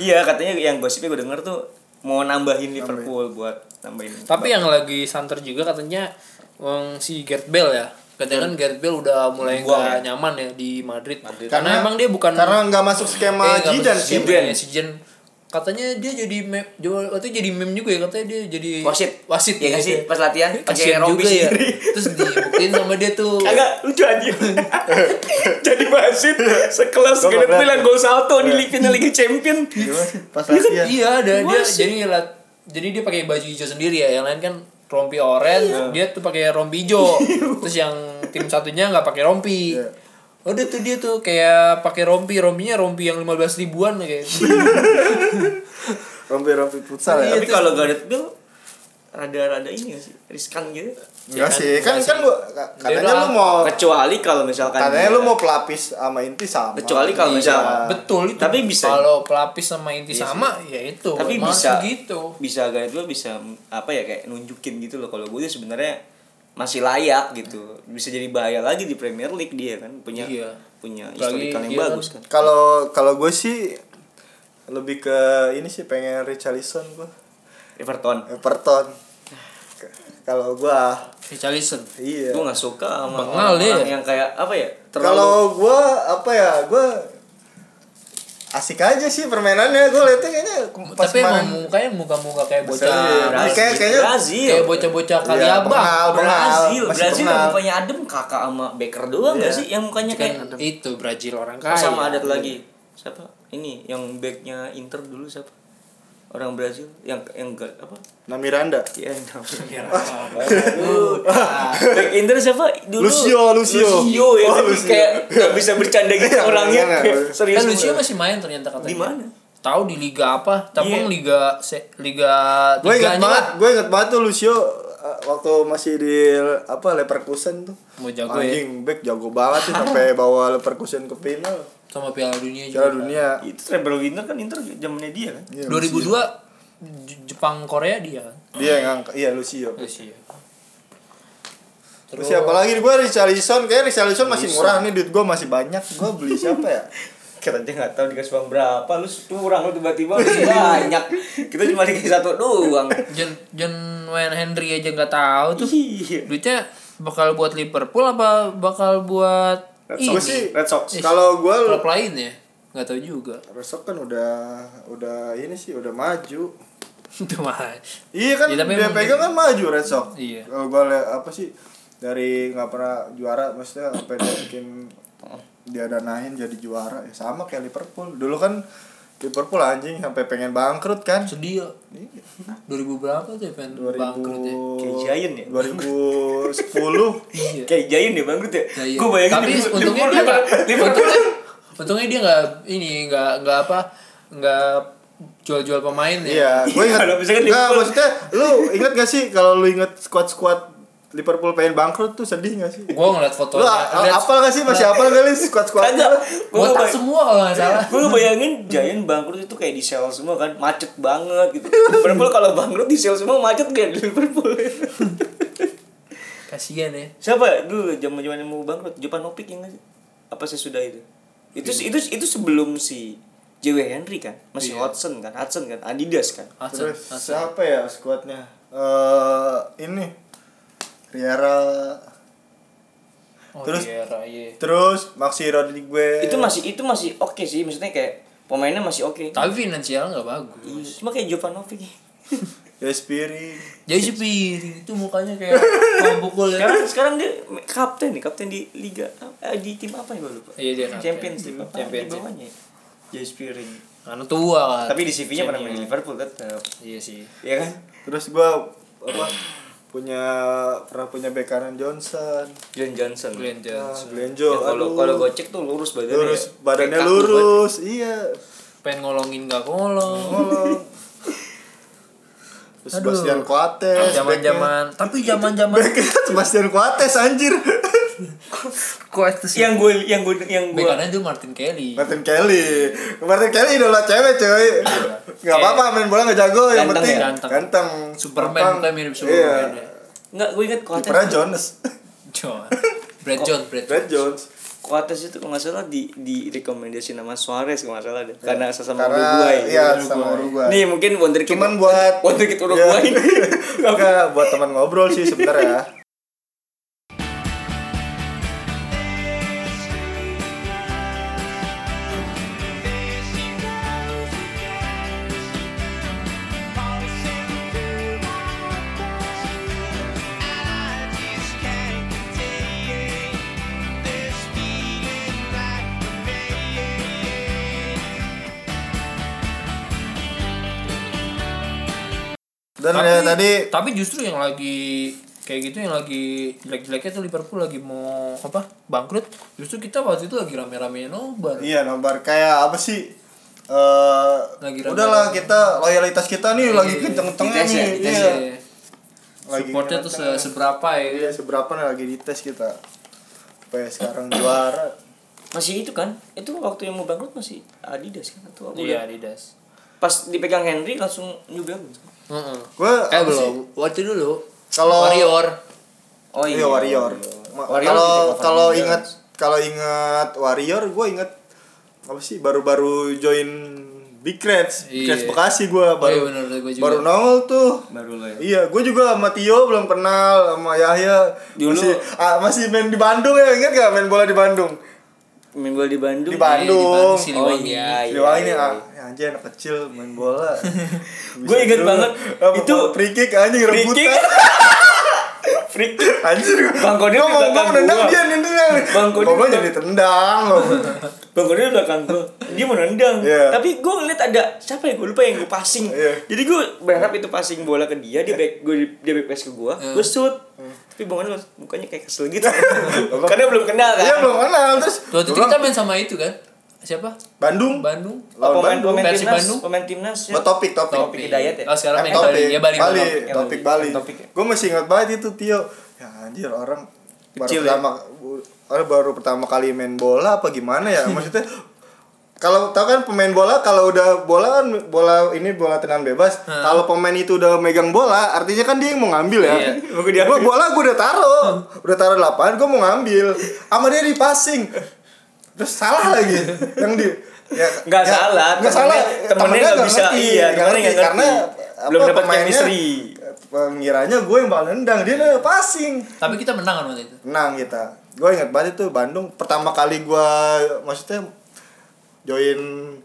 Speaker 2: iya katanya yang gosipnya gue denger tuh mau nambahin Liverpool buat nambahin
Speaker 3: Tapi yang lagi santer juga katanya um, si Gareth Bale ya. Katanya kan Gareth Bale udah mulai
Speaker 2: Buang
Speaker 3: nggak nyaman ya di Madrid. Karena,
Speaker 1: Karena-
Speaker 3: emang dia bukan
Speaker 1: Karena nggak masuk skema
Speaker 3: Eh, nggak
Speaker 1: Jidan
Speaker 3: masuk
Speaker 1: sih.
Speaker 3: skema ya, si Zidane. Katanya dia jadi mem, jual- waktu itu jadi meme juga ya katanya dia jadi
Speaker 2: wasit
Speaker 3: wasit iya.
Speaker 2: ya nggak sih pas latihan pakai
Speaker 3: Kasian
Speaker 2: rompi
Speaker 3: juga ya.
Speaker 2: sendiri
Speaker 3: Terus dibuktiin sama dia tuh.
Speaker 2: Agak lucu aja Jadi wasit Sekelas
Speaker 1: Iya. Gua Iya.
Speaker 2: Gareth
Speaker 1: bakal-
Speaker 2: Bale yang gol salto Di Liga- final Liga Champion
Speaker 1: Pas latihan.
Speaker 3: Iya, ada dia
Speaker 2: Wasit.
Speaker 3: jadi lat- jadi dia pakai baju hijau sendiri ya. Yang lain kan rompi oranye,
Speaker 2: Iya.
Speaker 3: dia tuh pakai rompi hijau. Terus yang tim satunya nggak pakai rompi.
Speaker 2: Iya.
Speaker 3: Udah tuh dia tuh kayak pakai rompi, rompinya rompi yang 15 ribuan kayak. gitu.
Speaker 2: Iya,
Speaker 1: Rompi-rompi futsal
Speaker 3: Iya,
Speaker 1: ya.
Speaker 2: Tapi kalau Gareth Bale Rada-rada ini nggak sih Riskan gitu
Speaker 3: Iya,
Speaker 1: Enggak sih. Kan kan lu katanya
Speaker 3: udah-
Speaker 1: lu mau
Speaker 2: Kecuali kalau
Speaker 1: Oh.
Speaker 2: misalkan
Speaker 3: iya.
Speaker 1: katanya lu mau pelapis sama inti sama.
Speaker 2: Kecuali kalau misalkan
Speaker 3: Betul itu.
Speaker 2: Tapi bisa Iya
Speaker 3: kalau pelapis sama inti sama ya itu.
Speaker 2: tapi
Speaker 3: Emang
Speaker 2: bisa
Speaker 3: gitu.
Speaker 2: bisa Gareth Bale bisa apa ya kayak nunjukin gitu loh kalau gue tuh sebenarnya masih layak gitu bisa jadi bahaya lagi di Premier League dia kan punya
Speaker 3: Iya.
Speaker 2: punya
Speaker 3: Apalagi
Speaker 2: historical yang
Speaker 3: dia
Speaker 2: bagus kan
Speaker 1: Kalau kalau gue sih lebih ke ini sih pengen Richarlison gua.
Speaker 2: Everton
Speaker 1: Everton. K- Kalau gua
Speaker 3: Richarlison.
Speaker 1: iya.
Speaker 2: gue nggak suka sama
Speaker 3: Bengal
Speaker 2: orang,
Speaker 3: dia.
Speaker 2: yang kayak apa ya terlalu
Speaker 1: Kalau gua apa ya? Gua asik aja sih permainannya gue liatnya kayaknya ke- pas
Speaker 3: Tapi emang
Speaker 1: kemarin
Speaker 3: mukanya muka-muka kayak bocah.
Speaker 1: Serius.
Speaker 2: Brazil
Speaker 1: kayak- kayaknya-
Speaker 2: Brazil
Speaker 3: Kayak bocah-bocah kali
Speaker 1: Iya,
Speaker 3: abang.
Speaker 1: pengal, pengal, masih
Speaker 2: Brazil
Speaker 1: Iya.
Speaker 2: Brazil yang
Speaker 1: pengal.
Speaker 2: mukanya adem kakak sama Baker doang nggak sih yang mukanya kayak
Speaker 3: Kan itu Brazil orang
Speaker 2: Oh,
Speaker 3: kaya.
Speaker 2: sama ada lagi siapa ini yang backnya Inter dulu siapa orang Brazil yang yang ga- apa
Speaker 1: Nah Miranda.
Speaker 2: Iya, Back Inter siapa dulu?
Speaker 1: Lucio, Lucio.
Speaker 2: Lucio ya,
Speaker 1: Oh,
Speaker 2: tapi
Speaker 1: Lucio.
Speaker 2: kayak nggak bisa bercanda gitu
Speaker 1: Iya,
Speaker 2: orangnya.
Speaker 1: iya,
Speaker 2: Kayak
Speaker 1: iya.
Speaker 2: Serius.
Speaker 3: Kan Lucio masih main ternyata katanya.
Speaker 2: Di mana?
Speaker 3: Tahu di liga apa? Tapi
Speaker 2: Iya.
Speaker 3: liga se, liga
Speaker 1: Gue
Speaker 3: tiganya
Speaker 1: ingat banget,
Speaker 3: lah.
Speaker 1: gue ingat banget tuh Lucio uh, waktu masih di apa Leverkusen tuh.
Speaker 3: Mau jago ya.
Speaker 1: Anjing back jago banget tuh sampai bawa Leverkusen ke final
Speaker 3: sama Piala Dunia juga.
Speaker 1: Piala Dunia.
Speaker 2: Itu treble winner kan Inter zamannya dia kan.
Speaker 1: Iya,
Speaker 3: 2002 J- Jepang Korea dia kan.
Speaker 1: Lucio. Dia yang ngangkat, iya Lucio.
Speaker 3: Lucio.
Speaker 1: Terus siapa lagi? Gue Richarlison, kayak Richarlison masih murah nih duit gue masih banyak. Gue beli siapa ya?
Speaker 2: Kita aja nggak tahu dikasih uang berapa, lu curang lu tiba-tiba lu banyak. Kita cuma dikasih satu doang.
Speaker 3: John John Wayne Henry aja nggak tahu tuh.
Speaker 2: Iya.
Speaker 3: Duitnya bakal buat Liverpool apa bakal buat
Speaker 1: Gue sih
Speaker 2: Red Sox.
Speaker 1: Kalau gue
Speaker 3: klub lain ya? Nggak tahu juga.
Speaker 1: Resok kan udah udah ini sih udah maju.
Speaker 3: Itu mah.
Speaker 1: Iya kan
Speaker 3: Ya, tapi
Speaker 1: dia
Speaker 3: emang
Speaker 1: pegang kan maju Red Sox.
Speaker 3: Iya.
Speaker 1: Kalau gue apa sih dari nggak pernah juara maksudnya sampai dia bikin dia danain jadi juara ya sama kayak Liverpool. Dulu kan Liverpool anjing sampai pengen bangkrut kan.
Speaker 3: Sedih ya. 2000 berapa tuh ya pengen
Speaker 1: 2000
Speaker 3: bangkrut ya?
Speaker 2: Kayak Giant ya?
Speaker 1: 2010
Speaker 3: Iya.
Speaker 2: Kayak Jain deh bangkrut ya.
Speaker 3: Nah, iya.
Speaker 2: Gue bayangin
Speaker 3: Tapi
Speaker 2: Liverpool-
Speaker 3: untungnya dia
Speaker 2: Liverpool-
Speaker 3: nggak
Speaker 2: Liverpool
Speaker 3: untungnya, untungnya dia nggak ini nggak nggak apa nggak jual-jual pemain ya.
Speaker 1: Iya, gue ingat.
Speaker 2: Kalau misalkan
Speaker 1: Nggak,
Speaker 2: Liverpool-
Speaker 1: maksudnya lu ingat gak sih kalau lu inget squad-squad Liverpool pengen bangkrut tuh sedih gak sih?
Speaker 3: Gue ngeliat
Speaker 1: Lu
Speaker 3: fotonya.
Speaker 1: a-
Speaker 3: ngeliat-
Speaker 1: apal gak sih? Masih apal gak lu squad-squad
Speaker 2: Kagak.
Speaker 1: lu?
Speaker 2: Kan Gua
Speaker 3: botak
Speaker 2: bayangin-
Speaker 3: semua kalau nggak salah.
Speaker 2: gue ngebayangin Giant bangkrut itu kayak di sel semua kan macet banget gitu Liverpool kalau bangkrut di sel semua macet gak di Liverpool
Speaker 1: Iya.
Speaker 3: Kasian ya.
Speaker 2: siapa ya dulu zaman zaman mau bangkrut Jepanovic yang sih apa sesudah itu itu itu itu sebelum si JW Henry kan masih
Speaker 3: Iya.
Speaker 2: Hudson kan Hudson kan Adidas kan
Speaker 3: Hudson,
Speaker 1: Terus
Speaker 3: Hudson.
Speaker 1: siapa ya squadnya? Eh ini Riera
Speaker 3: Oh,
Speaker 1: Terus-
Speaker 3: Vieira, iya.
Speaker 1: terus Maxi Rodriguez
Speaker 2: itu masih itu masih oke sih maksudnya kayak pemainnya masih oke
Speaker 3: Tapi finansial nggak bagus.
Speaker 2: Iya, cuma kayak Jovanovic
Speaker 1: Despiri
Speaker 3: Jadi si piring itu mukanya kayak mau pukul ya.
Speaker 2: sekarang sekarang dia kapten nih kapten di liga eh, di tim apa ya gue lupa
Speaker 3: Iya, dia kapten.
Speaker 2: Champions League Ah, apa
Speaker 3: Champions
Speaker 2: di bawahnya ya? Jay Spearing
Speaker 3: Karena tua kan.
Speaker 2: tapi di CV-nya pernah main
Speaker 3: Senior.
Speaker 2: Liverpool tetap
Speaker 3: Iya sih.
Speaker 2: ya kan
Speaker 1: terus gua apa punya pernah punya bek kanan Johnson
Speaker 2: John Johnson
Speaker 3: Glenn
Speaker 1: ah,
Speaker 3: Johnson.
Speaker 1: Glenjo
Speaker 2: Ya, kalau
Speaker 1: aduh.
Speaker 2: kalau gue cek tuh lurus badannya
Speaker 1: lurus
Speaker 2: ya.
Speaker 1: badannya
Speaker 2: Kayak kaku
Speaker 1: lurus iya
Speaker 3: pengen ngolongin gak ngolong
Speaker 1: Terus Sebastian Coates
Speaker 3: zaman zaman tapi zaman zaman
Speaker 1: backnya Sebastian Coates anjir
Speaker 2: yang gue yang gue yang gue
Speaker 3: bekannya dulu Martin Kelly
Speaker 1: Martin Kelly Martin Kelly idola cewek cuy nggak apa-apa main bola nggak jago
Speaker 6: Ganteng
Speaker 1: yang penting
Speaker 3: ya?
Speaker 1: ganteng,
Speaker 3: Ganteng. Superman,
Speaker 1: Gampang.
Speaker 3: bukan mirip
Speaker 1: iya.
Speaker 3: Superman ya.
Speaker 2: nggak gue inget Coates
Speaker 1: Kipernya Jones
Speaker 3: John Brad John Brad
Speaker 1: Brad Jones
Speaker 2: Coates itu kalau nggak salah di di rekomendasi nama Suarez kalau nggak salah deh karena
Speaker 1: Ya.
Speaker 2: sesama
Speaker 1: karena
Speaker 2: Uruguay
Speaker 1: iya sama Uruguay
Speaker 2: nih mungkin wonderkid
Speaker 1: cuman buat
Speaker 2: wonderkid Uruguay
Speaker 1: Iya. Enggak, buat teman ngobrol sih ya. sebenarnya dan
Speaker 3: Tapi-
Speaker 1: ya, tadi
Speaker 3: tapi justru yang lagi kayak gitu yang lagi jelek-jeleknya tuh Liverpool lagi mau apa bangkrut justru kita waktu itu lagi rame-rame nobar
Speaker 1: iya nomor kayak apa sih Eh,
Speaker 3: Lagi rame.
Speaker 1: udahlah kita loyalitas kita nih lagi kenceng-kencengnya
Speaker 6: dites ya,
Speaker 1: nih
Speaker 6: dites
Speaker 1: iya.
Speaker 3: Iya.
Speaker 1: Lagi
Speaker 3: supportnya tuh se-
Speaker 1: kenceng-kencengnya.
Speaker 3: seberapa
Speaker 1: Iya,
Speaker 3: ya
Speaker 1: seberapa nih lagi dites kita Sampai sekarang juara
Speaker 2: masih itu kan itu waktu yang mau bangkrut masih Adidas kan atau apa
Speaker 3: iya Adidas
Speaker 2: pas dipegang Henry langsung New Balance kan?
Speaker 3: Heeh.
Speaker 1: Gue
Speaker 3: eh belum waktu dulu
Speaker 1: Kalau-
Speaker 3: Warrior
Speaker 2: oh
Speaker 1: Iya Warrior. Ma-
Speaker 2: Warrior
Speaker 1: Kalau
Speaker 2: gitu, juga cover
Speaker 1: kalau
Speaker 2: New
Speaker 1: ingat
Speaker 2: Balance.
Speaker 1: kalau ingat Warrior, gue ingat apa sih baru-baru join Big Reds, Big
Speaker 3: Iya.
Speaker 1: Reds Bekasi gue baru
Speaker 3: Iya, bener, gua juga.
Speaker 1: baru nongol tuh.
Speaker 2: baru lah ya
Speaker 1: Iya, gue juga sama Tio belum kenal sama Yahya.
Speaker 2: Dulu-
Speaker 1: Masih ah, masih main di Bandung ya, ingat gak main bola di Bandung?
Speaker 2: main bola di Iya, Bandung
Speaker 1: Di Bandung.
Speaker 3: Bandung,
Speaker 2: oh
Speaker 3: Siliwangi.
Speaker 2: iya iya,
Speaker 1: Siliwangi nih,
Speaker 2: iya.
Speaker 1: ah, ya anjir anak kecil main bola.
Speaker 2: Gua inget banget, itu
Speaker 1: free kick anjing
Speaker 2: free
Speaker 1: rebutan.
Speaker 2: kick. Free kick.
Speaker 1: Anjir,
Speaker 2: Bang Kodil
Speaker 1: Gua mau
Speaker 2: di belakang
Speaker 1: ngomong nendang
Speaker 2: gua.
Speaker 1: dia nendang.
Speaker 2: Bang Kodil
Speaker 1: Gua
Speaker 2: di
Speaker 1: jadi tendang.
Speaker 2: Bang Kodil di belakang gue Dia mau nendang
Speaker 1: Iya.
Speaker 2: Tapi gue ngeliat ada Siapa ya gue lupa yang gue passing
Speaker 1: Iya.
Speaker 2: Jadi gue berharap itu passing bola ke dia Dia back gue dia back pass ke gue
Speaker 3: Iya.
Speaker 2: Gue shoot
Speaker 1: Iya.
Speaker 2: Tapi Bang Kodil mukanya kayak kesel gitu Karena belum kenal kan
Speaker 1: Dia Iya, belum kenal terus.
Speaker 3: waktu itu
Speaker 1: gua
Speaker 3: kita main sama itu kan siapa
Speaker 1: Bandung.
Speaker 3: Bandung
Speaker 1: Lawan
Speaker 2: pemain
Speaker 1: Bandung.
Speaker 2: pemain
Speaker 3: Persib
Speaker 2: timnas
Speaker 3: Bandung.
Speaker 2: pemain timnas ya.
Speaker 1: Oh, topik, topik.
Speaker 2: Topik Hidayat ya.
Speaker 3: Oh, sekarang
Speaker 1: Eh,
Speaker 3: main
Speaker 1: topik.
Speaker 3: Bali. Ya Bali.
Speaker 1: Bali,
Speaker 3: Bali.
Speaker 2: Bali.
Speaker 1: topik Bali.
Speaker 2: Topik ya.
Speaker 1: Gue masih ingat banget itu Tio. Ya anjir orang baru
Speaker 2: Kecil ya?
Speaker 1: pertama orang baru pertama kali main bola apa gimana ya maksudnya kalau tau kan pemain bola kalau udah bola kan bola ini bola tendangan bebas kalau pemain itu udah megang bola artinya kan dia yang mau ngambil ya
Speaker 2: Iya.
Speaker 1: gue bola gue udah taruh udah taruh di lapangan gue mau ngambil sama dia di passing terus salah lagi yang di ya
Speaker 2: Nggak salah,
Speaker 1: nggak
Speaker 2: temennya-
Speaker 1: salah
Speaker 2: temennya nggak bisa,
Speaker 1: ngerti,
Speaker 2: iya, temennya nggak
Speaker 1: karena
Speaker 2: ngerti. Belum
Speaker 1: apa,
Speaker 2: dapat
Speaker 1: pemainnya-
Speaker 2: chemistry.
Speaker 1: pengiranya gue yang bakal nendang dia udah passing
Speaker 3: tapi kita menang kan waktu itu
Speaker 1: menang kita gue ingat banget tuh Bandung pertama kali gue maksudnya join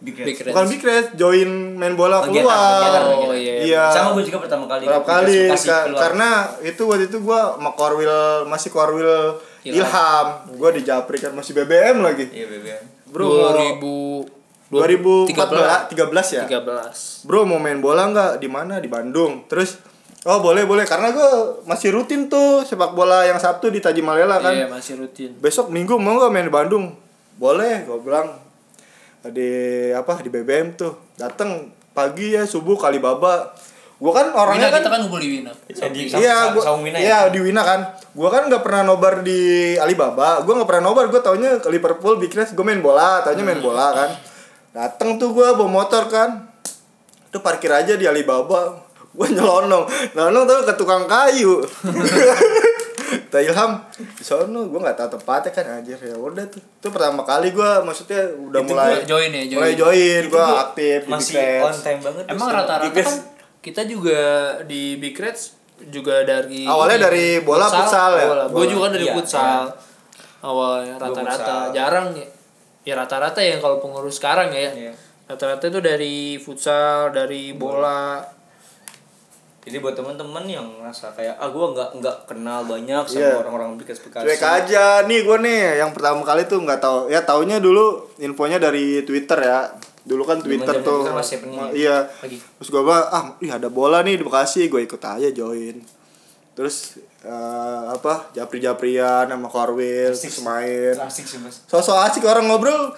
Speaker 3: Big Reds.
Speaker 1: bukan big Reds, join main bola
Speaker 2: Kegiatan,
Speaker 1: keluar
Speaker 2: kegiatan,
Speaker 3: kegiatan.
Speaker 1: iya
Speaker 2: Sama gue juga pertama kali.
Speaker 1: berapa
Speaker 2: Gua
Speaker 1: kali
Speaker 2: kasih
Speaker 1: ka-
Speaker 2: keluar.
Speaker 1: karena itu waktu itu gue sama Korwil masih Korwil Ilham, gue dijapri kan masih BBM lagi
Speaker 2: Iya BBM.
Speaker 1: bro mau- 2014
Speaker 3: 2013
Speaker 1: 13 ya
Speaker 3: 13
Speaker 1: bro mau main bola nggak di mana di Bandung terus oh boleh boleh karena gue masih rutin tuh sepak bola yang Sabtu di Tajimalela kan
Speaker 3: iya masih rutin
Speaker 1: besok minggu mau nggak main di Bandung boleh gue bilang di apa di BBM tuh datang pagi ya subuh kali baba gue kan orangnya
Speaker 3: Wina
Speaker 1: kan,
Speaker 3: kita kan ngumpul di Wina
Speaker 2: Jadi
Speaker 1: iya
Speaker 2: sama-
Speaker 1: gua,
Speaker 2: sama Wina
Speaker 1: iya
Speaker 2: ya.
Speaker 1: di Wina kan gue kan nggak pernah nobar di Alibaba gue nggak pernah nobar gue taunya ke Liverpool Big Reds gue main bola taunya main bola kan datang tuh gue bawa motor kan itu parkir aja di Alibaba gue nyelonong nyelonong tuh ke tukang kayu Kata Ilham di sono gue nggak tahu tempatnya kan anjir ya udah tuh itu pertama kali gue maksudnya udah
Speaker 3: Itu
Speaker 1: mulai
Speaker 3: gua join ya, join.
Speaker 1: mulai join
Speaker 2: Itu
Speaker 1: gue
Speaker 2: gua
Speaker 1: aktif di
Speaker 2: masih
Speaker 1: Big
Speaker 2: on
Speaker 1: Reds.
Speaker 2: time banget.
Speaker 3: emang
Speaker 2: Terus
Speaker 3: rata-rata
Speaker 2: Big
Speaker 3: kan kita juga di Big Reds juga dari
Speaker 1: Awalnya
Speaker 3: ini,
Speaker 1: dari bola, futsal ya?
Speaker 3: gue
Speaker 1: Bola.
Speaker 3: juga kan dari
Speaker 2: Iya,
Speaker 3: futsal awalnya
Speaker 2: futsal.
Speaker 3: rata-rata jarang ya ya rata-rata yang kalau pengurus sekarang ya
Speaker 2: Iya.
Speaker 3: rata-rata itu dari futsal dari bola
Speaker 2: Jadi buat teman-teman yang merasa kayak ah gue nggak nggak kenal banyak
Speaker 1: Iya.
Speaker 2: sama orang-orang bekas bekas.
Speaker 1: cuek aja nih gue nih yang pertama kali tuh nggak tahu ya taunya dulu infonya dari Twitter ya dulu kan Twitter
Speaker 2: zaman
Speaker 1: tuh
Speaker 2: Twitter masih penuh ya?
Speaker 1: iya
Speaker 2: Lagi.
Speaker 1: terus gue bilang ah ih ada bola nih di Bekasi gue ikut aja join terus eh, apa japri japrian sama Korwil terus main
Speaker 2: Asik sih mas.
Speaker 1: sosok asik orang ngobrol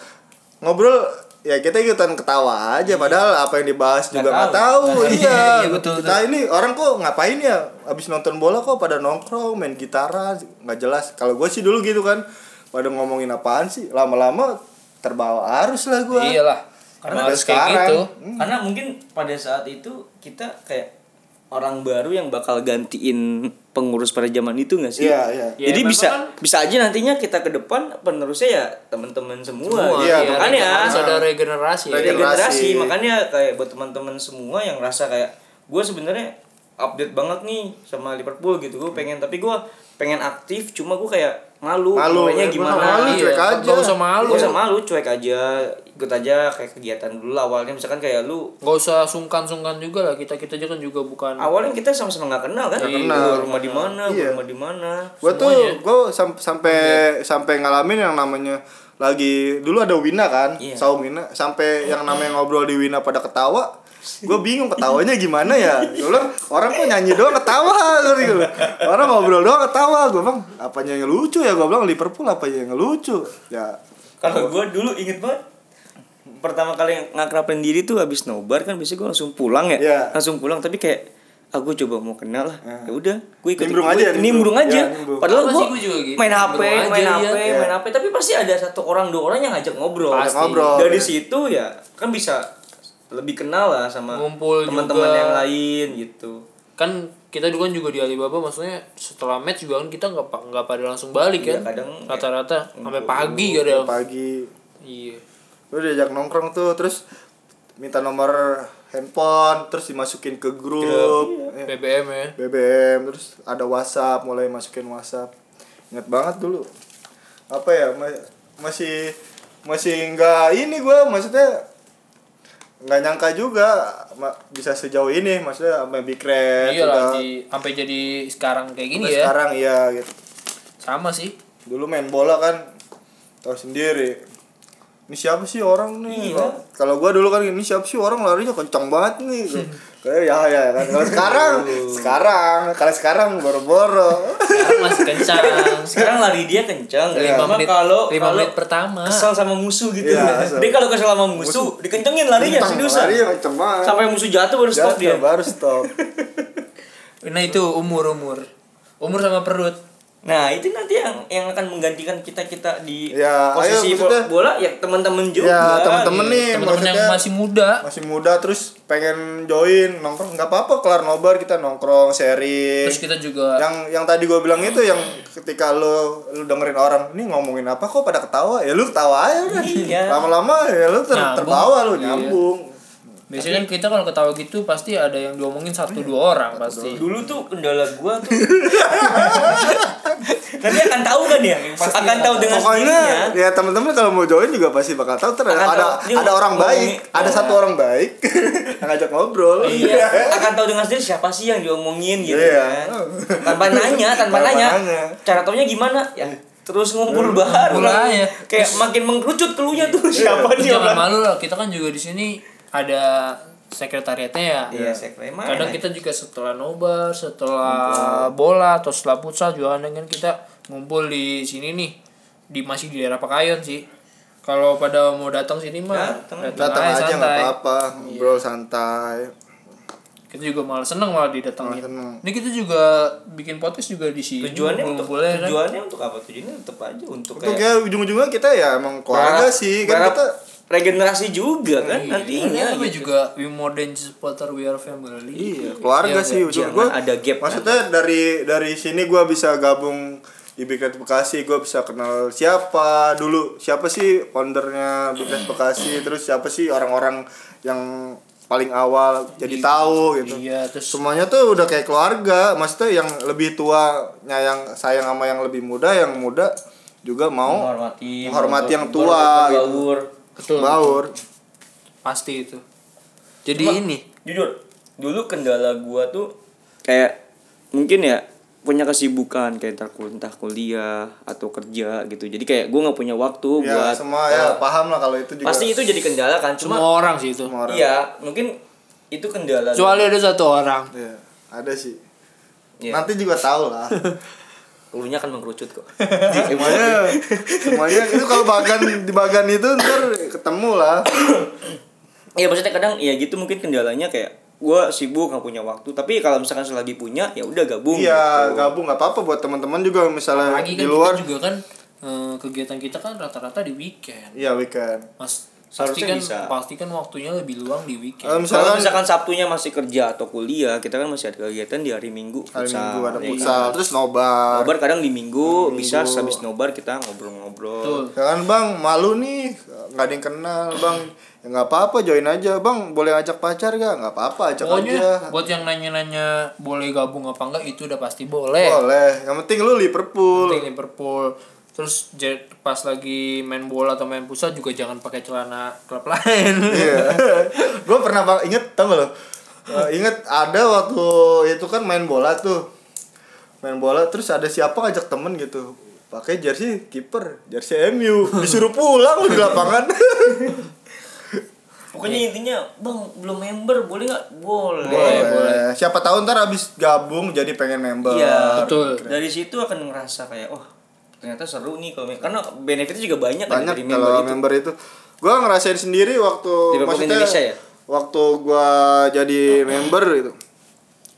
Speaker 1: ngobrol ya kita ikutan ketawa aja padahal apa yang dibahas juga Iya. nggak tahu iya
Speaker 3: Iya, betul,
Speaker 1: kita ini orang kok ngapain ya abis nonton bola kok pada nongkrong main gitaran nggak jelas kalau gue sih dulu gitu kan pada ngomongin apaan sih lama-lama terbawa arus lah gue
Speaker 3: iyalah
Speaker 1: Karena
Speaker 3: karena harus
Speaker 1: ada
Speaker 3: kayak
Speaker 1: sekarang.
Speaker 3: gitu
Speaker 7: Karena mungkin pada saat itu kita kayak
Speaker 2: orang baru yang bakal gantiin pengurus pada zaman itu nggak sih?
Speaker 1: Iya, iya.
Speaker 8: Ya,
Speaker 2: Jadi
Speaker 8: memang
Speaker 2: bisa
Speaker 8: kan-
Speaker 2: bisa aja nantinya kita ke depan penerusnya ya teman-teman semua. gitu kan ya.
Speaker 3: Wah,
Speaker 1: Iya,
Speaker 3: iya,
Speaker 2: makanya
Speaker 3: karena harus ada regenerasi ya.
Speaker 1: Regenerasi.
Speaker 2: regenerasi makanya kayak buat teman-teman semua yang rasa kayak gue sebenarnya update banget nih sama Liverpool gitu
Speaker 1: Hmm.
Speaker 2: gue pengen tapi gue pengen aktif cuma gue kayak malu
Speaker 1: Malu, ya,
Speaker 2: mulainya
Speaker 1: gua
Speaker 2: gimana
Speaker 1: malu,
Speaker 2: Iya.
Speaker 1: cuek aja. Iya.
Speaker 3: Gak usah malu.
Speaker 2: Gua sama lu cuek aja ikut aja kayak kegiatan dulu lah awalnya misalkan kayak lu
Speaker 3: Gak usah sungkan-sungkan juga lah kita kita aja kan juga bukan
Speaker 2: awalnya kita sama-sama nggak kenal kan
Speaker 1: Nggak kenal.
Speaker 2: Lu rumah di mana gua
Speaker 1: Iya.
Speaker 2: rumah di mana
Speaker 1: gue tuh gue sampai sampai ngalamin yang namanya lagi dulu ada Wina kan
Speaker 2: Iya.
Speaker 1: saung Wina sampai yang namanya ngobrol di Wina pada ketawa gue bingung ketawanya gimana ya dulu orang kok nyanyi doang ketawa gua gitu loh. orang ngobrol doang ketawa gue bang apanya yang lucu ya gue bilang Liverpool apanya yang lucu ya
Speaker 2: Kalau gue dulu inget banget pertama kali ngakrapin diri tuh habis nobar kan biasanya gue langsung pulang ya,
Speaker 1: Iya. Ah.
Speaker 2: langsung pulang tapi kayak aku coba mau kenal lah ya udah gue ikut
Speaker 1: Nimbrung
Speaker 2: gua
Speaker 1: aja,
Speaker 2: ikut-
Speaker 1: nimbrung.
Speaker 2: nimbrung aja
Speaker 1: Iya, nimbrung.
Speaker 2: padahal
Speaker 3: Apa
Speaker 2: gue
Speaker 3: sih gua juga gitu,
Speaker 2: main hp
Speaker 3: nimbrung aja,
Speaker 2: main hp
Speaker 3: iya.
Speaker 2: main hp tapi pasti ada satu orang dua orang yang ngajak ngobrol
Speaker 1: Pasti. Ngobrol,
Speaker 2: dari
Speaker 1: iya.
Speaker 2: situ ya kan bisa lebih kenal lah sama
Speaker 3: Ngumpul
Speaker 2: teman-teman
Speaker 3: juga.
Speaker 2: yang lain gitu
Speaker 3: kan kita dulu kan juga di Alibaba maksudnya setelah match juga kan kita nggak pa- nggak pada langsung balik
Speaker 2: Iya,
Speaker 3: kan
Speaker 2: kadang
Speaker 3: rata-rata sampai pagi kadang
Speaker 1: pagi
Speaker 3: iya
Speaker 1: lu diajak nongkrong tuh terus minta nomor handphone terus dimasukin ke grup Iya.
Speaker 3: BBM ya
Speaker 1: BBM terus ada WhatsApp mulai masukin WhatsApp ingat banget dulu apa ya ma- masih masih nggak ini gua maksudnya nggak nyangka juga ma- bisa sejauh ini maksudnya sampai big red
Speaker 3: iya
Speaker 1: udah
Speaker 3: lah di- sampai jadi sekarang kayak gini
Speaker 1: sampai
Speaker 3: ya
Speaker 1: sekarang ya gitu
Speaker 3: sama sih
Speaker 1: dulu main bola kan tahu sendiri ini siapa sih orang nih
Speaker 3: Iya.
Speaker 1: Kalau- kalau gua dulu kan ini siapa sih orang larinya kencang banget nih kayak ya ya kan kalau sekarang sekarang kalau sekarang boro-boro
Speaker 3: sekarang masih kencang
Speaker 2: sekarang lari dia kencang
Speaker 1: Iya.
Speaker 3: lima
Speaker 2: cuma
Speaker 3: menit
Speaker 2: kalau
Speaker 3: lima
Speaker 2: kalau
Speaker 3: menit pertama
Speaker 2: kesel sama musuh gitu
Speaker 1: Iya, kesel.
Speaker 2: dia kalau kesel sama musuh, dikencengin larinya
Speaker 1: Kencang,
Speaker 2: Iya, seriusan
Speaker 1: larinya kencang banget.
Speaker 2: sampai musuh jatuh baru stop
Speaker 1: Jatuh,
Speaker 2: dia
Speaker 1: baru stop
Speaker 3: nah itu umur umur umur sama perut
Speaker 2: nah itu nanti yang yang akan menggantikan kita kita di
Speaker 1: Ya,
Speaker 2: posisi
Speaker 1: ayo, maksudnya-
Speaker 2: bola ya teman-teman juga
Speaker 1: ya temen-temen nih
Speaker 3: teman-teman Iya, yang
Speaker 1: maksudnya
Speaker 3: masih muda
Speaker 1: masih muda terus pengen join nongkrong nggak apa-apa kelar nobar kita nongkrong sharing
Speaker 3: terus kita juga
Speaker 1: yang yang tadi gue bilang itu yang ketika lo lu dengerin orang ini ngomongin apa kok pada ketawa ya lu ketawa aja udah
Speaker 2: Iya.
Speaker 1: lama-lama ya lu ter-
Speaker 3: Nyambung.
Speaker 1: terbawa lu nyambung
Speaker 3: biasanya kan kita kalau ketawa gitu pasti ada yang diomongin satu dua orang pasti
Speaker 2: dulu tuh kendala gua tuh nanti akan tahu kan ya akan tahu dengan
Speaker 1: pokoknya
Speaker 2: sendirinya
Speaker 1: ya temen-temen kalau mau join juga pasti bakal tahu ter
Speaker 2: Akan
Speaker 1: ada
Speaker 2: tahu. Dia
Speaker 1: ada orang
Speaker 2: ngomongin-
Speaker 1: baik ada satu orang baik yang ngajak ngobrol
Speaker 2: Iya, akan tahu dengan sendiri siapa sih yang diomongin gitu
Speaker 1: Iya.
Speaker 2: kan. Tanpa nanya, tanpa,
Speaker 1: Tanpa
Speaker 2: nanya.
Speaker 1: nanya.
Speaker 2: Cara taunya gimana? Ya terus ngumpul baru lah.
Speaker 3: aja.
Speaker 2: Kayak makin mengkerucut keluarnya
Speaker 1: Iya.
Speaker 2: tuh siapa
Speaker 3: Tapi
Speaker 2: dia orang.
Speaker 3: jangan malu lah kita kan juga di sini ada sekretariatnya ya
Speaker 2: Iya, sekre mana?
Speaker 3: kadang kita juga setelah nobar setelah bola atau setelah futsal juga kadang kan kita ngumpul di sini nih di masih di daerah Pakayon sih kalau pada mau datang sini mah
Speaker 2: Datang.
Speaker 1: datang aja nggak
Speaker 3: santai.
Speaker 1: apa-apa ngobrol santai
Speaker 3: kita juga malah seneng malah didatengin
Speaker 1: Malah seneng.
Speaker 3: ini kita juga bikin podcast juga di sini
Speaker 2: Tujuannya untuk
Speaker 3: ngumpulnya kan.
Speaker 2: tujuannya untuk apa? Tujuannya tetap aja untuk
Speaker 1: Itu
Speaker 2: kayak
Speaker 1: kayak ujung-ujungnya kita ya emang keluarga sih kan
Speaker 2: berharap
Speaker 1: kita
Speaker 2: regenerasi juga kan nantinya.
Speaker 3: Tapi Iya, juga we more than just supporter we are family
Speaker 1: gitu. iya keluarga
Speaker 3: Iya,
Speaker 1: sih
Speaker 3: iya.
Speaker 1: ujung
Speaker 2: Jangan
Speaker 1: gua
Speaker 2: ada gap kan?
Speaker 1: maksudnya dari dari sini gua bisa gabung di Big Red Bekasi gua bisa kenal siapa dulu siapa sih foundernya Big Red Bekasi terus siapa sih orang-orang yang paling awal jadi tahu gitu
Speaker 3: iya terus
Speaker 1: semuanya tuh udah kayak keluarga maksudnya yang lebih tua nyayang sayang sama yang lebih muda yang muda juga mau
Speaker 2: menghormati
Speaker 1: Menghormati yang tua,
Speaker 2: berbaur,
Speaker 1: gitu.
Speaker 2: berbaur.
Speaker 3: betul
Speaker 1: baur
Speaker 3: pasti itu jadi ini
Speaker 2: jujur dulu kendala gua tuh kayak mungkin ya punya kesibukan kayak entar kul- entah kuliah atau kerja gitu jadi kayak gua nggak punya waktu
Speaker 1: ya
Speaker 2: buat eh,
Speaker 1: semua ya paham lah kalau itu juga
Speaker 2: pasti itu jadi kendala kan cuma
Speaker 3: semua orang sih itu
Speaker 1: semua orang.
Speaker 2: iya mungkin itu
Speaker 1: Nah,
Speaker 2: kendala
Speaker 3: kecuali ada satu orang
Speaker 1: Iya, ada sih.
Speaker 2: Iya.
Speaker 1: Nanti juga tahu lah.
Speaker 2: Elunya akan mengerucut kok.
Speaker 1: semuanya semuanya itu kalau bagan di bagan itu ntar ketemu lah
Speaker 2: Iya maksudnya kadang ya gitu mungkin kendalanya kayak gua sibuk nggak punya waktu tapi kalau misalkan selagi punya ya udah gabung
Speaker 1: iya gabung nggak apa-apa buat teman-teman juga misalnya
Speaker 3: Lagi kan
Speaker 1: di luar
Speaker 3: kita juga kan eh, kegiatan kita kan rata-rata di weekend.
Speaker 1: iya weekend
Speaker 3: Mas
Speaker 9: Harusnya
Speaker 3: pastikan
Speaker 9: bisa.
Speaker 3: pastikan kan waktunya lebih luang di
Speaker 1: kalau
Speaker 3: weekend.
Speaker 2: Kalau
Speaker 1: misalkan
Speaker 2: misalkan Sabtunya masih kerja atau kuliah, kita kan masih ada kegiatan di hari Minggu.
Speaker 1: hari
Speaker 2: futsal.
Speaker 1: minggu ada
Speaker 2: Iya.
Speaker 1: futsal terus nobar
Speaker 2: Nobar kadang di Minggu, bisa habis nobar kita ngobrol-ngobrol.
Speaker 1: Ya kan bang malu nih nggak ada yang kenal bang ya nggak apa-apa join aja bang boleh ajak pacar gak nggak apa-apa ajak aja
Speaker 3: Pokoknya buat yang nanya-nanya boleh gabung apa enggak itu udah pasti boleh.
Speaker 1: boleh yang penting lu Liverpool
Speaker 3: Penting Liverpool. Terus je- pas lagi main bola atau main pusat juga jangan pakai celana klub lain.
Speaker 1: Iya. gue pernah bang inget tau gak lo? Eh, inget ada waktu itu kan main bola tuh main bola terus ada siapa ngajak temen gitu pakai jersey kiper jersey MU disuruh pulang lu di lapangan
Speaker 9: Pokoknya intinya, bang belum member boleh nggak? Boleh.
Speaker 1: boleh siapa tahu ntar abis gabung jadi pengen member
Speaker 9: Iya.
Speaker 3: Betul.
Speaker 9: Dari situ akan ngerasa kayak, wah ternyata seru nih kalau mem-" karena benefitnya juga banyak, kan
Speaker 1: banyak
Speaker 9: dari
Speaker 2: gitu
Speaker 9: member
Speaker 1: kalau
Speaker 9: itu.
Speaker 1: member itu gue ngerasain sendiri waktu
Speaker 2: Di Bapak Indonesia ya?
Speaker 1: waktu gue jadi member gitu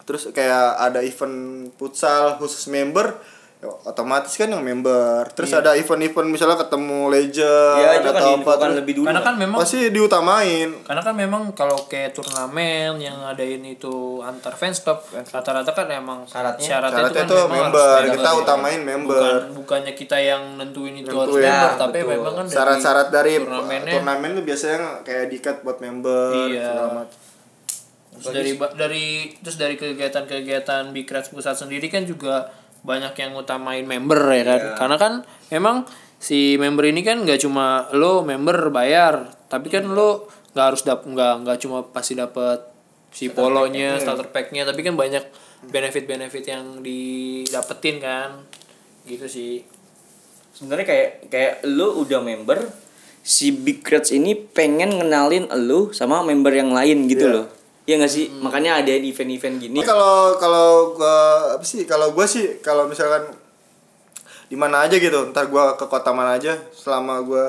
Speaker 1: terus kayak ada event futsal khusus member ya otomatis kan yang member terus ada event-event misalnya ketemu legend
Speaker 2: Ya Iya. itu
Speaker 1: atau
Speaker 2: kan
Speaker 1: apa
Speaker 2: diinfokan
Speaker 1: terus
Speaker 2: lebih dulu.
Speaker 3: Karena kan memang
Speaker 1: pasti diutamain
Speaker 3: Karena kan memang kalau kayak turnamen yang ngadain itu antar fans club rata-rata kan emang
Speaker 9: Syaratnya?
Speaker 1: Syaratnya
Speaker 3: kan
Speaker 1: itu
Speaker 3: memang harus
Speaker 1: member,
Speaker 3: dari
Speaker 1: kita
Speaker 3: member.
Speaker 1: utamain member.
Speaker 3: Bukan bukannya kita yang nentuin itu harus
Speaker 1: Nentuin.
Speaker 3: member,
Speaker 1: Nah,
Speaker 3: tapi
Speaker 2: betul.
Speaker 3: memang kan dari
Speaker 1: syarat-syarat dari
Speaker 3: turnamennya
Speaker 1: turnamen tuh biasanya kayak dikat buat member
Speaker 3: Iya.
Speaker 1: segala macam.
Speaker 3: terus dari ba- dari terus dari kegiatan-kegiatan Big Reds pusat sendiri kan juga banyak yang utamain member ya kan. Karena kan memang si member ini kan nggak cuma lo member bayar, tapi kan lo nggak harus dap nggak nggak cuma pasti dapat si polonya, starter packnya, tapi kan banyak benefit-benefit yang didapetin kan. Gitu sih.
Speaker 2: Sebenarnya kayak kayak lu udah member, si Big Reds ini pengen ngenalin lu sama member yang lain gitu loh. Iya nggak sih? Makanya ada event-event gini.
Speaker 1: Ini kalau kalau gua apa sih kalau gua sih kalau misalkan di mana aja gitu, ntar gua ke kota mana aja selama gua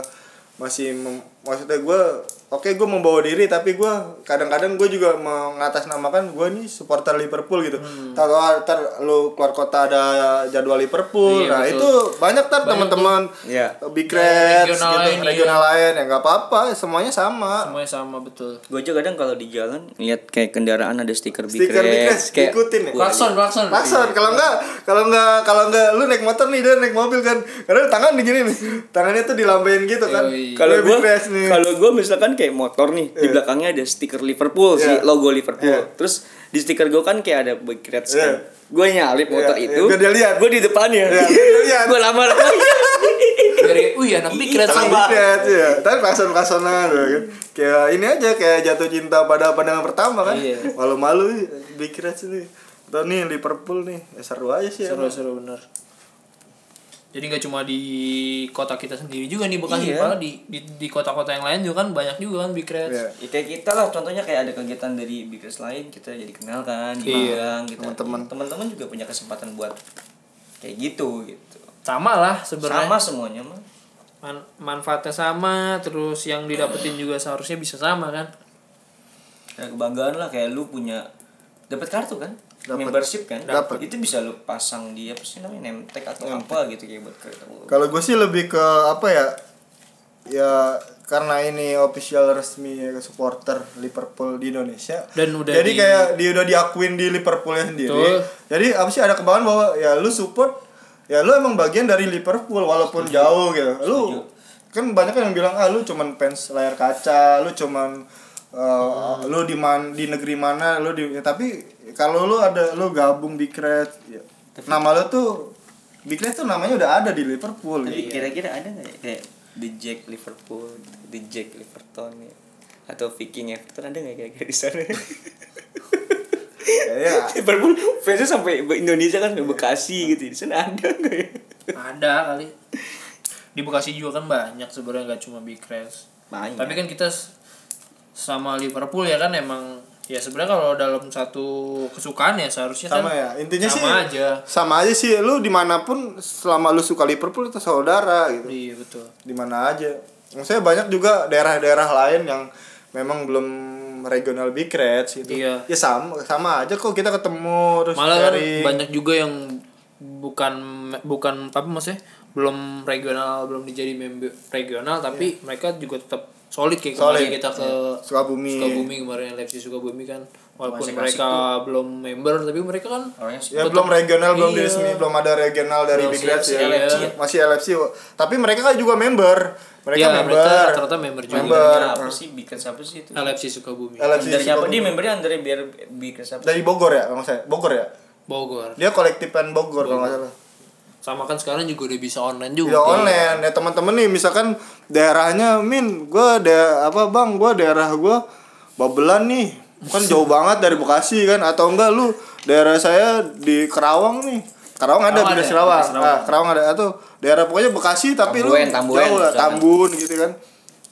Speaker 1: masih mem- maksudnya gua oke gua membawa diri tapi gua kadang-kadang gua juga mengatasnamakan gua nih supporter Liverpool gitu. Ntar ntar lu keluar kota ada jadwal Liverpool.
Speaker 3: Iya,
Speaker 1: nah,
Speaker 3: betul.
Speaker 1: itu banyak ntar teman-teman
Speaker 2: Iya.
Speaker 1: Big Reds
Speaker 3: Regional
Speaker 1: gitu,
Speaker 3: lain,
Speaker 1: regional lain ya nggak apa-apa, semuanya sama.
Speaker 3: Semuanya sama betul.
Speaker 2: Gue aja kadang kalau di jalan lihat kayak kendaraan ada stiker Big
Speaker 1: Stiker Big Reds,
Speaker 2: Reds, kayak
Speaker 1: diikutin ya?
Speaker 2: Wah,
Speaker 3: Klakson, klakson.
Speaker 1: Lakson, kalau enggak, kalau enggak, kalau enggak lu naik motor nih dan naik mobil kan. Karena tangan begini nih. Tangannya tuh dilambain gitu kan.
Speaker 3: Yoi.
Speaker 2: kalau
Speaker 1: Lebih
Speaker 2: gue
Speaker 1: fresh nih.
Speaker 2: kalau gue misalkan kayak motor nih di belakangnya ada stiker
Speaker 1: Iya.
Speaker 2: Liverpool si logo Liverpool
Speaker 1: Iya.
Speaker 2: terus di stiker gue kan kayak ada Big
Speaker 1: Iya.
Speaker 2: Reds kan gue nyalip motor
Speaker 1: Iya,
Speaker 2: itu
Speaker 1: iya, biar dia lihat.
Speaker 2: gue di depannya
Speaker 1: Iya, biar dia lihat.
Speaker 2: gue lama
Speaker 3: Dari wih anak Big Reds
Speaker 1: Tangan
Speaker 3: sama.
Speaker 1: dikret, ya. Tapi lakson-laksonan gitu kan. Kayak ini aja kayak jatuh cinta pada pandangan pertama kan.
Speaker 3: Iya.
Speaker 1: Malu-malu dikira sih nih. Atau nih Liverpool nih. Ya, seru aja sih.
Speaker 3: seru
Speaker 1: emang.
Speaker 3: seru bener jadi nggak cuma di kota kita sendiri juga nih
Speaker 9: Iya.
Speaker 3: bekasi malah di di di kota-kota yang lain juga kan banyak juga kan big reds
Speaker 1: Iya.
Speaker 9: Ya, kayak kita lah contohnya kayak ada kegiatan dari bikers lain kita jadi kenal kan di Malang gitu.
Speaker 1: Iya, teman-teman.
Speaker 9: teman-teman juga punya kesempatan buat kayak gitu gitu
Speaker 3: sama lah sebenarnya
Speaker 9: sama semuanya mah
Speaker 3: Man- manfaatnya sama terus yang didapetin juga seharusnya bisa sama kan
Speaker 9: kayak kebanggaan lah kayak lu punya dapat kartu kan
Speaker 1: Dapet.
Speaker 9: membership kan
Speaker 1: Dapet.
Speaker 9: itu bisa lu pasang di apa sih namanya name tag atau apa gitu kayak buat kartu
Speaker 1: Kalau gue sih lebih ke apa ya? Ya karena ini official resmi supporter Liverpool di Indonesia.
Speaker 3: Dan udah
Speaker 1: Jadi
Speaker 3: di-
Speaker 1: kayak dia udah diakuin di Liverpoolnya sendiri.
Speaker 3: Betul.
Speaker 1: Jadi apa sih ada kebanggaan bahwa ya lu support ya lu emang bagian dari Liverpool walaupun jauh gitu. Lu kan banyak kan yang bilang ah lu cuman fans layar kaca, lu cuman uh,
Speaker 3: Hmm.
Speaker 1: lu di man, di negeri mana, lu di ya, tapi kalau lu ada lu gabung di Kret, ya, nama lu tuh Big Red tuh namanya udah ada di Liverpool
Speaker 9: tapi
Speaker 1: gitu.
Speaker 9: kira-kira ada nggak ya kayak the Jack Liverpool the Jack Liverpool ya? atau Viking Everton ada nggak kira-kira di sana
Speaker 1: Iya.
Speaker 2: Liverpool fansnya sampai be- Indonesia kan sampai Bekasi gitu di sana ada nggak ya
Speaker 3: ada kali di bekasi juga kan banyak sebenarnya nggak cuma big reds
Speaker 9: banyak
Speaker 3: tapi kan kita s- sama liverpool ya kan emang Ya sebenarnya kalau dalam satu kesukaan ya seharusnya
Speaker 1: sama
Speaker 3: kan
Speaker 1: ya intinya
Speaker 3: sama
Speaker 1: sih
Speaker 3: aja.
Speaker 1: sama aja sih lu dimanapun selama lu suka Liverpool itu saudara gitu
Speaker 3: Iya betul.
Speaker 1: di mana aja. Maksudnya banyak juga daerah-daerah lain yang memang belum regional big reds gitu.
Speaker 3: Iya.
Speaker 1: Ya sama sama aja kok kita ketemu terus
Speaker 3: Malah kan
Speaker 1: sharing.
Speaker 3: banyak juga yang bukan bukan apa maksudnya belum regional belum dijadi member regional tapi mereka juga tetap solid kayak
Speaker 1: Iya. Solid. Iya.
Speaker 3: kemarin kita ke
Speaker 1: Sukabumi.
Speaker 3: Sukabumi kemarin Leipzig Sukabumi kan walaupun
Speaker 2: Masih klasik
Speaker 3: mereka belum member tapi mereka kan
Speaker 2: orangnya sih
Speaker 1: Ya belum regional, belum
Speaker 3: Iya.
Speaker 1: diresmi, belum ada regional dari
Speaker 3: Belum
Speaker 1: big
Speaker 3: sih,
Speaker 1: reds ya.
Speaker 3: LFC.
Speaker 1: Masih LFC. Tapi mereka kan juga member. Mereka
Speaker 3: ya
Speaker 1: member.
Speaker 3: mereka rata-rata member juga
Speaker 1: Member.
Speaker 2: Nah, apa sih bikin siapa sih itu
Speaker 3: LFC Sukabumi
Speaker 1: LFC
Speaker 2: Undernya apa
Speaker 1: Sukabumi.
Speaker 2: dia membernya under biar bikin siapa
Speaker 1: dari Bogor ya, kalau nggak salah. Bogor ya.
Speaker 3: Bogor
Speaker 1: Dia kolektifan Bogor kalau nggak salah.
Speaker 3: sama kan sekarang juga udah bisa online juga Iya,
Speaker 1: Udah online ya teman-teman nih misalkan daerahnya min gua ada apa bang gua daerah gua Babelan nih kan jauh banget dari Bekasi kan atau enggak lu daerah saya di Kerawang nih Kerawang ada
Speaker 3: Kerawang
Speaker 1: beda
Speaker 3: ada,
Speaker 1: Kerawang ah, Kerawang ada atau daerah pokoknya Bekasi tapi
Speaker 10: Tambun,
Speaker 1: lu
Speaker 10: Tambun,
Speaker 1: jauh lah
Speaker 10: misalkan.
Speaker 1: Tambun gitu kan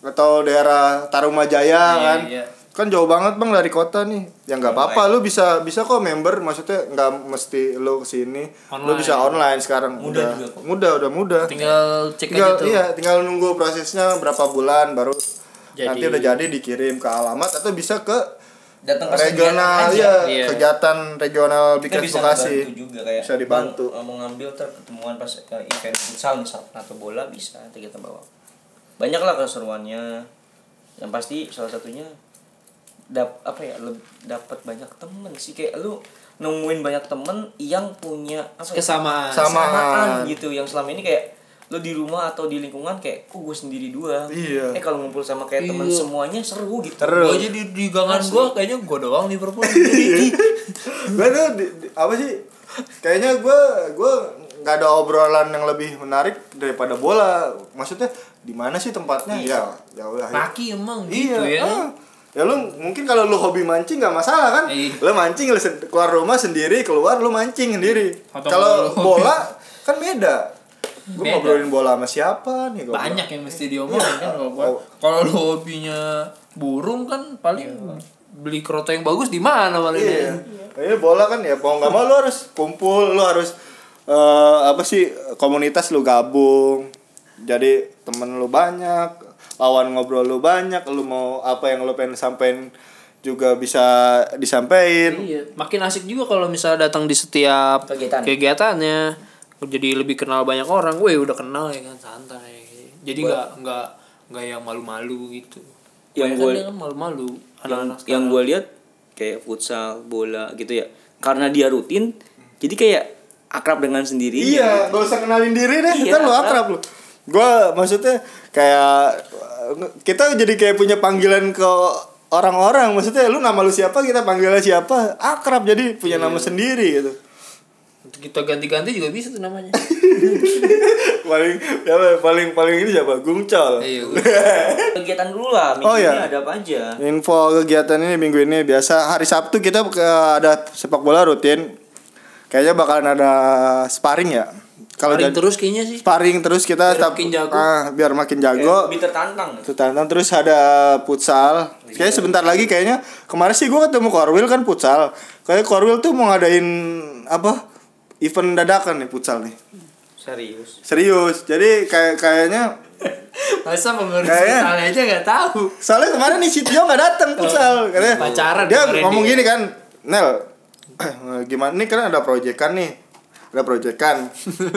Speaker 1: atau daerah Tarumajaya kan
Speaker 3: iya.
Speaker 1: kan jauh banget bang dari kota nih ya nggak apa-apa lu bisa bisa kok member maksudnya nggak mesti lu kesini lu
Speaker 3: Online.
Speaker 1: bisa online sekarang udah
Speaker 2: juga kok.
Speaker 1: mudah udah mudah
Speaker 3: tinggal cek
Speaker 1: tinggal
Speaker 3: aja tuh
Speaker 1: iya tinggal nunggu prosesnya berapa bulan baru
Speaker 3: Jadi.
Speaker 1: nanti udah jadi dikirim ke alamat atau bisa ke
Speaker 2: datang ke
Speaker 1: regional
Speaker 2: aja.
Speaker 1: ya
Speaker 3: Iya.
Speaker 1: kegiatan regional
Speaker 2: kita
Speaker 1: bikin
Speaker 2: bisa
Speaker 1: Bekasi
Speaker 2: dibantu juga kayak
Speaker 1: Bisa dibantu.
Speaker 2: "Bang, mau ngambil ter ketemuan pas eh, event futsal misal atau bola bisa nanti kita bawa banyak lah keseruannya yang pasti salah satunya dap apa ya dapat banyak temen sih kayak lu nemuin banyak temen yang punya apa ya,
Speaker 3: kesamaan
Speaker 1: Kesamaan.
Speaker 2: gitu yang selama ini kayak lu di rumah atau di lingkungan kayak kok gue sendiri doang
Speaker 1: Iya.
Speaker 2: eh kalau ngumpul sama kayak temen
Speaker 3: Iya.
Speaker 2: semuanya seru gitu
Speaker 1: terus
Speaker 3: gue aja di, di gangan gue kayaknya gue doang Liverpool Jadi,
Speaker 1: gue tuh di- di- apa sih kayaknya gue gue nggak ada obrolan yang lebih menarik daripada bola maksudnya di mana sih tempatnya ya ya udah
Speaker 3: Iya. laki emang
Speaker 1: Iya.
Speaker 3: gitu ya
Speaker 1: ah. Ya lu mungkin kalau lu hobi mancing nggak masalah kan?
Speaker 3: Iya.
Speaker 1: Lu mancing lu sen- keluar rumah sendiri, keluar lu mancing sendiri. Kalau
Speaker 3: Atau kalau lu hobi-
Speaker 1: bola kan beda. Gue
Speaker 3: Beda.
Speaker 1: ngobrolin bola sama siapa nih gua
Speaker 3: banyak yang mesti diomongin kan kalau gua.
Speaker 1: Oh.
Speaker 3: kalau lo hobinya burung kan paling beli kroto yang bagus di mana
Speaker 1: bilang.
Speaker 3: paling ya?
Speaker 1: Iya. Iya bola kan ya mau nggak mau lu harus kumpul, lu harus eh, apa sih komunitas lu gabung. Jadi temen lu banyak, lawan ngobrol lu banyak, lu mau apa yang lu pengen sampein juga bisa disampaikan.
Speaker 3: Iya, makin asik juga kalau misalnya datang di setiap
Speaker 2: Kegiatan.
Speaker 3: kegiatannya. Jadi lebih kenal banyak orang. Weh, udah kenal ya kan santai. Jadi nggak nggak nggak yang malu-malu gitu.
Speaker 10: Yang
Speaker 3: Yang
Speaker 10: gua-
Speaker 3: kan malu-malu
Speaker 10: yang,
Speaker 3: anak-anak.
Speaker 10: yang gue lihat kayak futsal bola gitu ya karena dia rutin jadi kayak akrab dengan sendiri
Speaker 1: Iya, gak usah kenalin diri deh,
Speaker 10: Iya,
Speaker 1: kan lu
Speaker 10: akrab.
Speaker 1: akrab lu. Gua maksudnya kayak kita jadi kayak punya panggilan ke orang-orang, maksudnya lu nama lu siapa, kita panggilnya siapa, akrab jadi punya
Speaker 3: Iya.
Speaker 1: nama sendiri gitu.
Speaker 3: Kita ganti-ganti juga bisa tuh namanya.
Speaker 1: paling siapa- paling paling ini siapa? Gumcol.
Speaker 3: Iya.
Speaker 2: kegiatan dulu lah minggu
Speaker 1: Oh, iya.
Speaker 2: ini ada apa aja
Speaker 1: Info kegiatan ini minggu ini biasa hari Sabtu kita ke- ada sepak bola rutin. Kayaknya bakalan ada sparring ya. Kalau
Speaker 3: Paling
Speaker 1: jadi
Speaker 3: terus kayaknya sih.
Speaker 1: sparring terus kita
Speaker 3: Biar
Speaker 1: tetap-
Speaker 3: makin jago. Iya.
Speaker 1: ah, biar makin
Speaker 2: Kayak
Speaker 1: jago.
Speaker 2: lebih tertantang
Speaker 1: Tetantang Nah, terus ada futsal. Kayaknya sebentar lagi kayaknya kemarin sih gue ketemu Korwil kan futsal. Kayak Korwil tuh mau ngadain apa? Event dadakan nih futsal nih.
Speaker 2: serius
Speaker 1: Serius. Jadi kayak kayaknya
Speaker 3: Masa mengurus
Speaker 1: Kayaknya-
Speaker 3: misalnya aja nggak tahu.
Speaker 1: soalnya kemarin nih Sitio nggak datang futsal. Katanya
Speaker 3: Oh, Pacaran
Speaker 1: dia
Speaker 3: kemarin
Speaker 1: ngomong
Speaker 3: dia.
Speaker 1: gini kan, Nel, gimana nih kan ada proyekan nih ada proyekan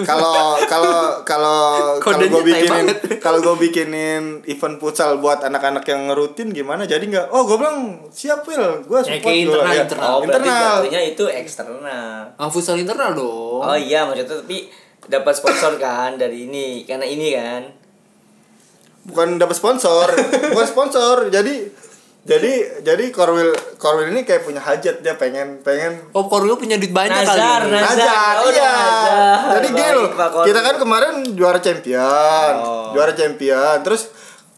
Speaker 1: kalau kalau kalau kalau gue
Speaker 3: Kodenya tai
Speaker 1: bikinin
Speaker 3: banget.
Speaker 1: kalau gue bikinin event futsal buat anak-anak yang rutin gimana jadi nggak oh gue bilang siap Wil gue
Speaker 3: Ya,
Speaker 1: support
Speaker 3: kayak
Speaker 1: gua bilang,
Speaker 3: internal,
Speaker 1: "Ya,
Speaker 3: internal."
Speaker 2: Oh, berarti
Speaker 1: internal
Speaker 2: jatuhnya itu eksternal.
Speaker 3: Ah, futsal internal dong.
Speaker 2: Oh iya, maksudnya tapi dapat sponsor kan dari ini karena ini kan.
Speaker 1: bukan dapat sponsor bukan sponsor jadi jadi jadi Korwil Korwil ini kayak punya hajat dia pengen pengen
Speaker 3: Oh, Korwil punya duit banyak
Speaker 2: Nazar,
Speaker 3: kali.
Speaker 2: Nazar.
Speaker 1: Nazar,
Speaker 2: Oh,
Speaker 1: iya.
Speaker 2: Nazar.
Speaker 1: Jadi gini
Speaker 2: Baik,
Speaker 1: loh,
Speaker 2: Pak Korwil.
Speaker 1: kita kan kemarin juara champion,
Speaker 2: Oh.
Speaker 1: juara champion. Terus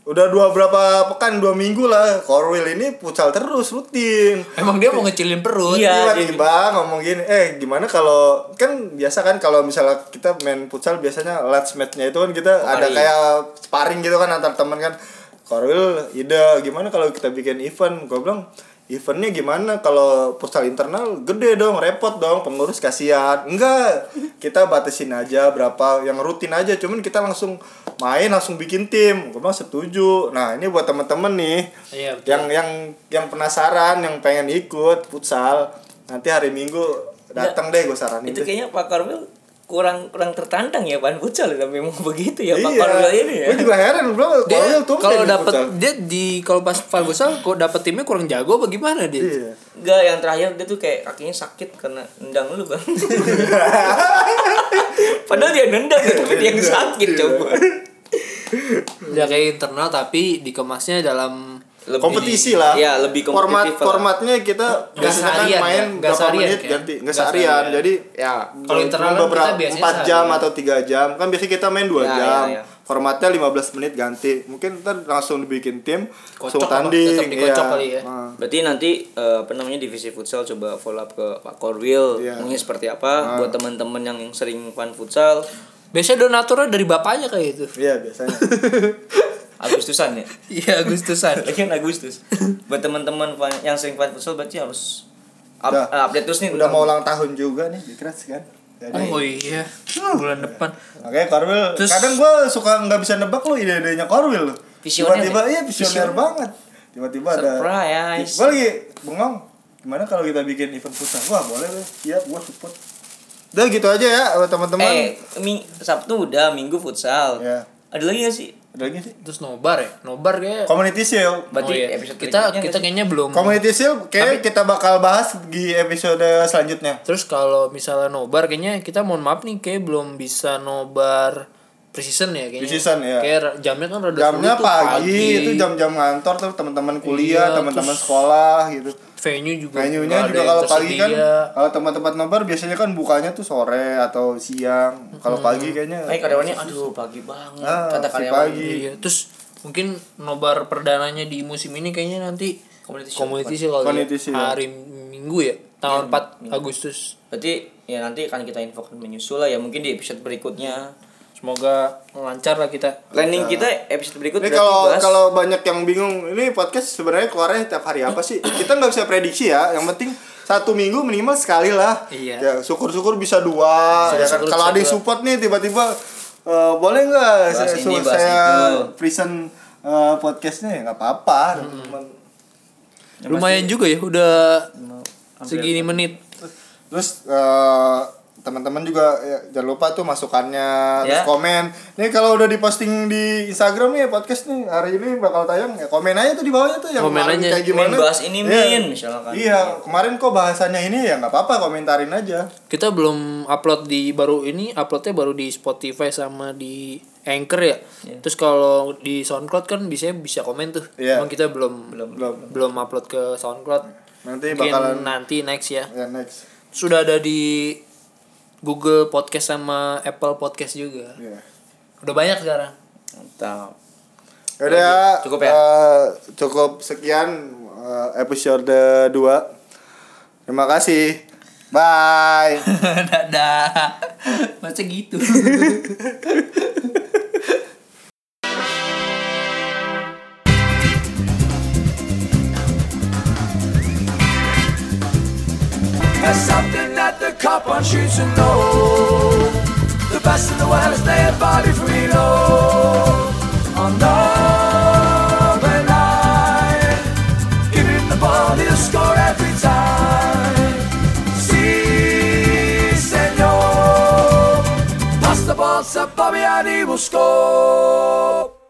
Speaker 1: udah dua berapa pekan, dua minggu lah, Korwil ini pucal terus rutin.
Speaker 3: Emang dia mau ngecilin perut.
Speaker 2: Iya.
Speaker 1: Tiba-tiba gitu. ngomong gini, eh gimana kalau kan biasa kan kalau misalnya kita main futsal biasanya last match-nya itu kan kita ada
Speaker 2: Sparring.
Speaker 1: kayak sparring gitu kan antar teman kan. Korwil ide gimana kalau kita bikin event? Gue bilang eventnya gimana kalau futsal internal gede dong repot dong pengurus kasihan enggak kita batasin aja berapa yang rutin aja cuman kita langsung main langsung bikin tim gue bilang setuju nah ini buat temen-temen nih
Speaker 3: Iya, betul.
Speaker 1: yang yang yang penasaran yang pengen ikut futsal nanti hari minggu datang deh gue saranin
Speaker 2: itu
Speaker 1: deh.
Speaker 2: kayaknya Pak Karmel kurang kurang tertantang ya Pak Futsal ya, memang begitu ya
Speaker 1: iya.
Speaker 2: Pak Karmel ini ya
Speaker 1: Gue juga heran bro,
Speaker 3: dia
Speaker 1: Korwil tuh gitu,
Speaker 3: kalau dapat dia di kalau pas Fargusal kok dapat timnya kurang jago bagaimana dia?
Speaker 1: Iya.
Speaker 2: Enggak, yang terakhir dia tuh kayak kakinya sakit karena nendang lu kan. Padahal dia nendang ya, tapi dia yang
Speaker 1: Iya.
Speaker 2: sakit coba.
Speaker 3: Dia kayak internal tapi dikemasnya dalam
Speaker 2: Lebih-
Speaker 1: Kompetisi lah.
Speaker 2: Iya, lebih
Speaker 1: Format
Speaker 2: kompetitif lah.
Speaker 1: formatnya kita biasanya
Speaker 3: Nggak
Speaker 1: kan
Speaker 3: seharian,
Speaker 1: main
Speaker 3: ya? Nggak
Speaker 1: berapa
Speaker 3: seharian,
Speaker 1: menit
Speaker 3: kan?
Speaker 1: ganti, nggak
Speaker 3: Nggak
Speaker 1: seharian.
Speaker 3: seharian.
Speaker 1: Jadi ya
Speaker 3: Kalau internal kan
Speaker 1: beberapa
Speaker 3: kita biasanya
Speaker 1: 4 jam
Speaker 3: seharian.
Speaker 1: atau 3 jam. Kan biasanya kita main 2
Speaker 2: Ya,
Speaker 1: jam.
Speaker 2: ya, ya.
Speaker 1: Formatnya 15 menit ganti. Mungkin ntar langsung dibikin tim, langsung
Speaker 3: apa?
Speaker 1: tanding.
Speaker 3: Tetap dikocok kali ya.
Speaker 1: Nah,
Speaker 2: Berarti nanti eh, apa namanya divisi futsal coba follow up ke Pak Korwil
Speaker 1: Iya.
Speaker 2: mungkin seperti apa buat teman-teman yang sering fan futsal
Speaker 3: biasanya donaturnya dari bapaknya kayak gitu. itu.
Speaker 1: Iya, biasanya.
Speaker 2: Agustusan ya.
Speaker 3: Iya Agustusan.
Speaker 2: Lagi Agustus. buat teman-teman fan- yang sering fan futsal berarti harus up-
Speaker 1: Udah.
Speaker 2: eh, update terus nih
Speaker 1: Udah mau ulang tahun juga nih, dikras kan. Jadi,
Speaker 3: Oh iya, bulan depan.
Speaker 1: makanya Korwil,
Speaker 3: Terus-
Speaker 1: kadang gue suka nggak bisa nebak lo ide-idenya Korwil lo.
Speaker 2: Visioner
Speaker 1: Tiba-tiba, iya visioner banget. Tiba-tiba ada.
Speaker 2: Surprise.
Speaker 1: Gue lagi bengong. Gimana kalau kita bikin event futsal? Wah boleh deh. Iya, gue support. Udah gitu aja ya buat teman-teman.
Speaker 2: Eh, Ming- Sabtu udah, Minggu futsal.
Speaker 1: Ya.
Speaker 2: Ada lagi gak sih?
Speaker 1: Ada lagi sih.
Speaker 3: Terus nobar ya, nobar kayak.
Speaker 1: Community Shield.
Speaker 2: Berarti
Speaker 3: Oh, iya.
Speaker 2: episode
Speaker 3: kita
Speaker 2: berikutnya
Speaker 3: kita
Speaker 2: nggak sih?
Speaker 3: kayaknya belum.
Speaker 1: Community Shield kayaknya kita bakal bahas di episode selanjutnya.
Speaker 3: Terus kalau misalnya nobar kayaknya kita mohon maaf nih kayak belum bisa nobar precision ya kayaknya.
Speaker 1: Precision, ya.
Speaker 3: Kayak ra- jamnya kan rada
Speaker 1: Jamnya
Speaker 3: sulit tuh,
Speaker 1: pagi, itu jam-jam ngantor tuh teman-teman kuliah,
Speaker 3: Iya,
Speaker 1: teman-teman sekolah gitu.
Speaker 3: venue juga. nggak
Speaker 1: Venue-nya
Speaker 3: ada
Speaker 1: juga
Speaker 3: yang
Speaker 1: kalau pagi kan
Speaker 3: tersedia.
Speaker 1: kalau tempat-tempat nobar biasanya kan bukanya tuh sore atau siang. Kalau
Speaker 3: Hmm.
Speaker 1: pagi kayaknya
Speaker 2: Kayak karyawannya aduh pagi banget
Speaker 1: Ah,
Speaker 2: kata
Speaker 1: si
Speaker 2: karyawan.
Speaker 1: pagi.
Speaker 3: Iya, terus mungkin nobar perdananya di musim ini kayaknya nanti
Speaker 2: Community shield.
Speaker 3: community sih kalau
Speaker 1: Community
Speaker 3: ya.
Speaker 1: shield.
Speaker 3: hari Minggu ya, tanggal 4 Agustus.
Speaker 2: Berarti ya nanti akan kita infokan menyusul lah ya mungkin di episode berikutnya.
Speaker 3: Semoga lancar lah kita.
Speaker 2: Planning kita episode berikut
Speaker 1: Ini
Speaker 2: berarti
Speaker 1: Iya. kalau
Speaker 2: bahas-
Speaker 1: kalau banyak yang bingung, ini podcast sebenarnya keluarnya tiap hari apa sih? Kita nggak bisa prediksi ya. Yang penting satu minggu minimal sekali lah.
Speaker 3: Iya.
Speaker 1: Ya, syukur-syukur bisa dua. Ya kan?
Speaker 3: Syukur-syukur
Speaker 1: Kalau
Speaker 3: bisa
Speaker 1: ada yang
Speaker 3: dua.
Speaker 1: support nih tiba-tiba eh, boleh nggak saya,
Speaker 2: Bahas ini,
Speaker 1: su-
Speaker 2: bahas
Speaker 1: saya
Speaker 2: itu.
Speaker 1: present eh, podcastnya ya nggak apa-apa.
Speaker 3: Hmm.
Speaker 1: Cuman-
Speaker 3: Lumayan juga ya udah segini menit.
Speaker 1: Terus eh, teman-teman juga ya, jangan lupa tuh masukannya, terus
Speaker 2: Ya.
Speaker 1: komen. Nih kalau udah diposting di Instagram nih podcast nih hari ini bakal tayang ya komen aja tuh di bawahnya tuh yang
Speaker 3: Komen
Speaker 1: kemarin
Speaker 3: aja.
Speaker 1: kayak gimana.
Speaker 2: Min bahas ini,
Speaker 1: Iya.
Speaker 2: Min, misalkan.
Speaker 1: Iya, kemarin kok bahasannya ini ya nggak apa-apa komentarin aja.
Speaker 3: Kita belum upload di baru ini, uploadnya baru di Spotify sama di Anchor ya. Terus kalau di SoundCloud kan biasanya bisa komen tuh.
Speaker 1: Iya.
Speaker 3: Emang kita belum belum
Speaker 1: Belum.
Speaker 3: belum upload ke SoundCloud.
Speaker 1: Nanti
Speaker 3: Mungkin
Speaker 1: bakalan
Speaker 3: nanti next ya.
Speaker 1: ya next.
Speaker 3: Sudah ada di Google Podcast sama Apple Podcast juga.
Speaker 1: Iya.
Speaker 3: Udah banyak sekarang.
Speaker 2: Mantap.
Speaker 1: Ya udah ya.
Speaker 2: Cukup ya?
Speaker 1: eh, cukup sekian eh, episode 2. Terima kasih. Bye.
Speaker 3: Dadah. Masa gitu.
Speaker 11: There's something that the cop on shoots and know. The best in the world is their body free low. On number nine, give him the ball, he'll score every time. Si, senor. Pass the ball to Bobby and he will score.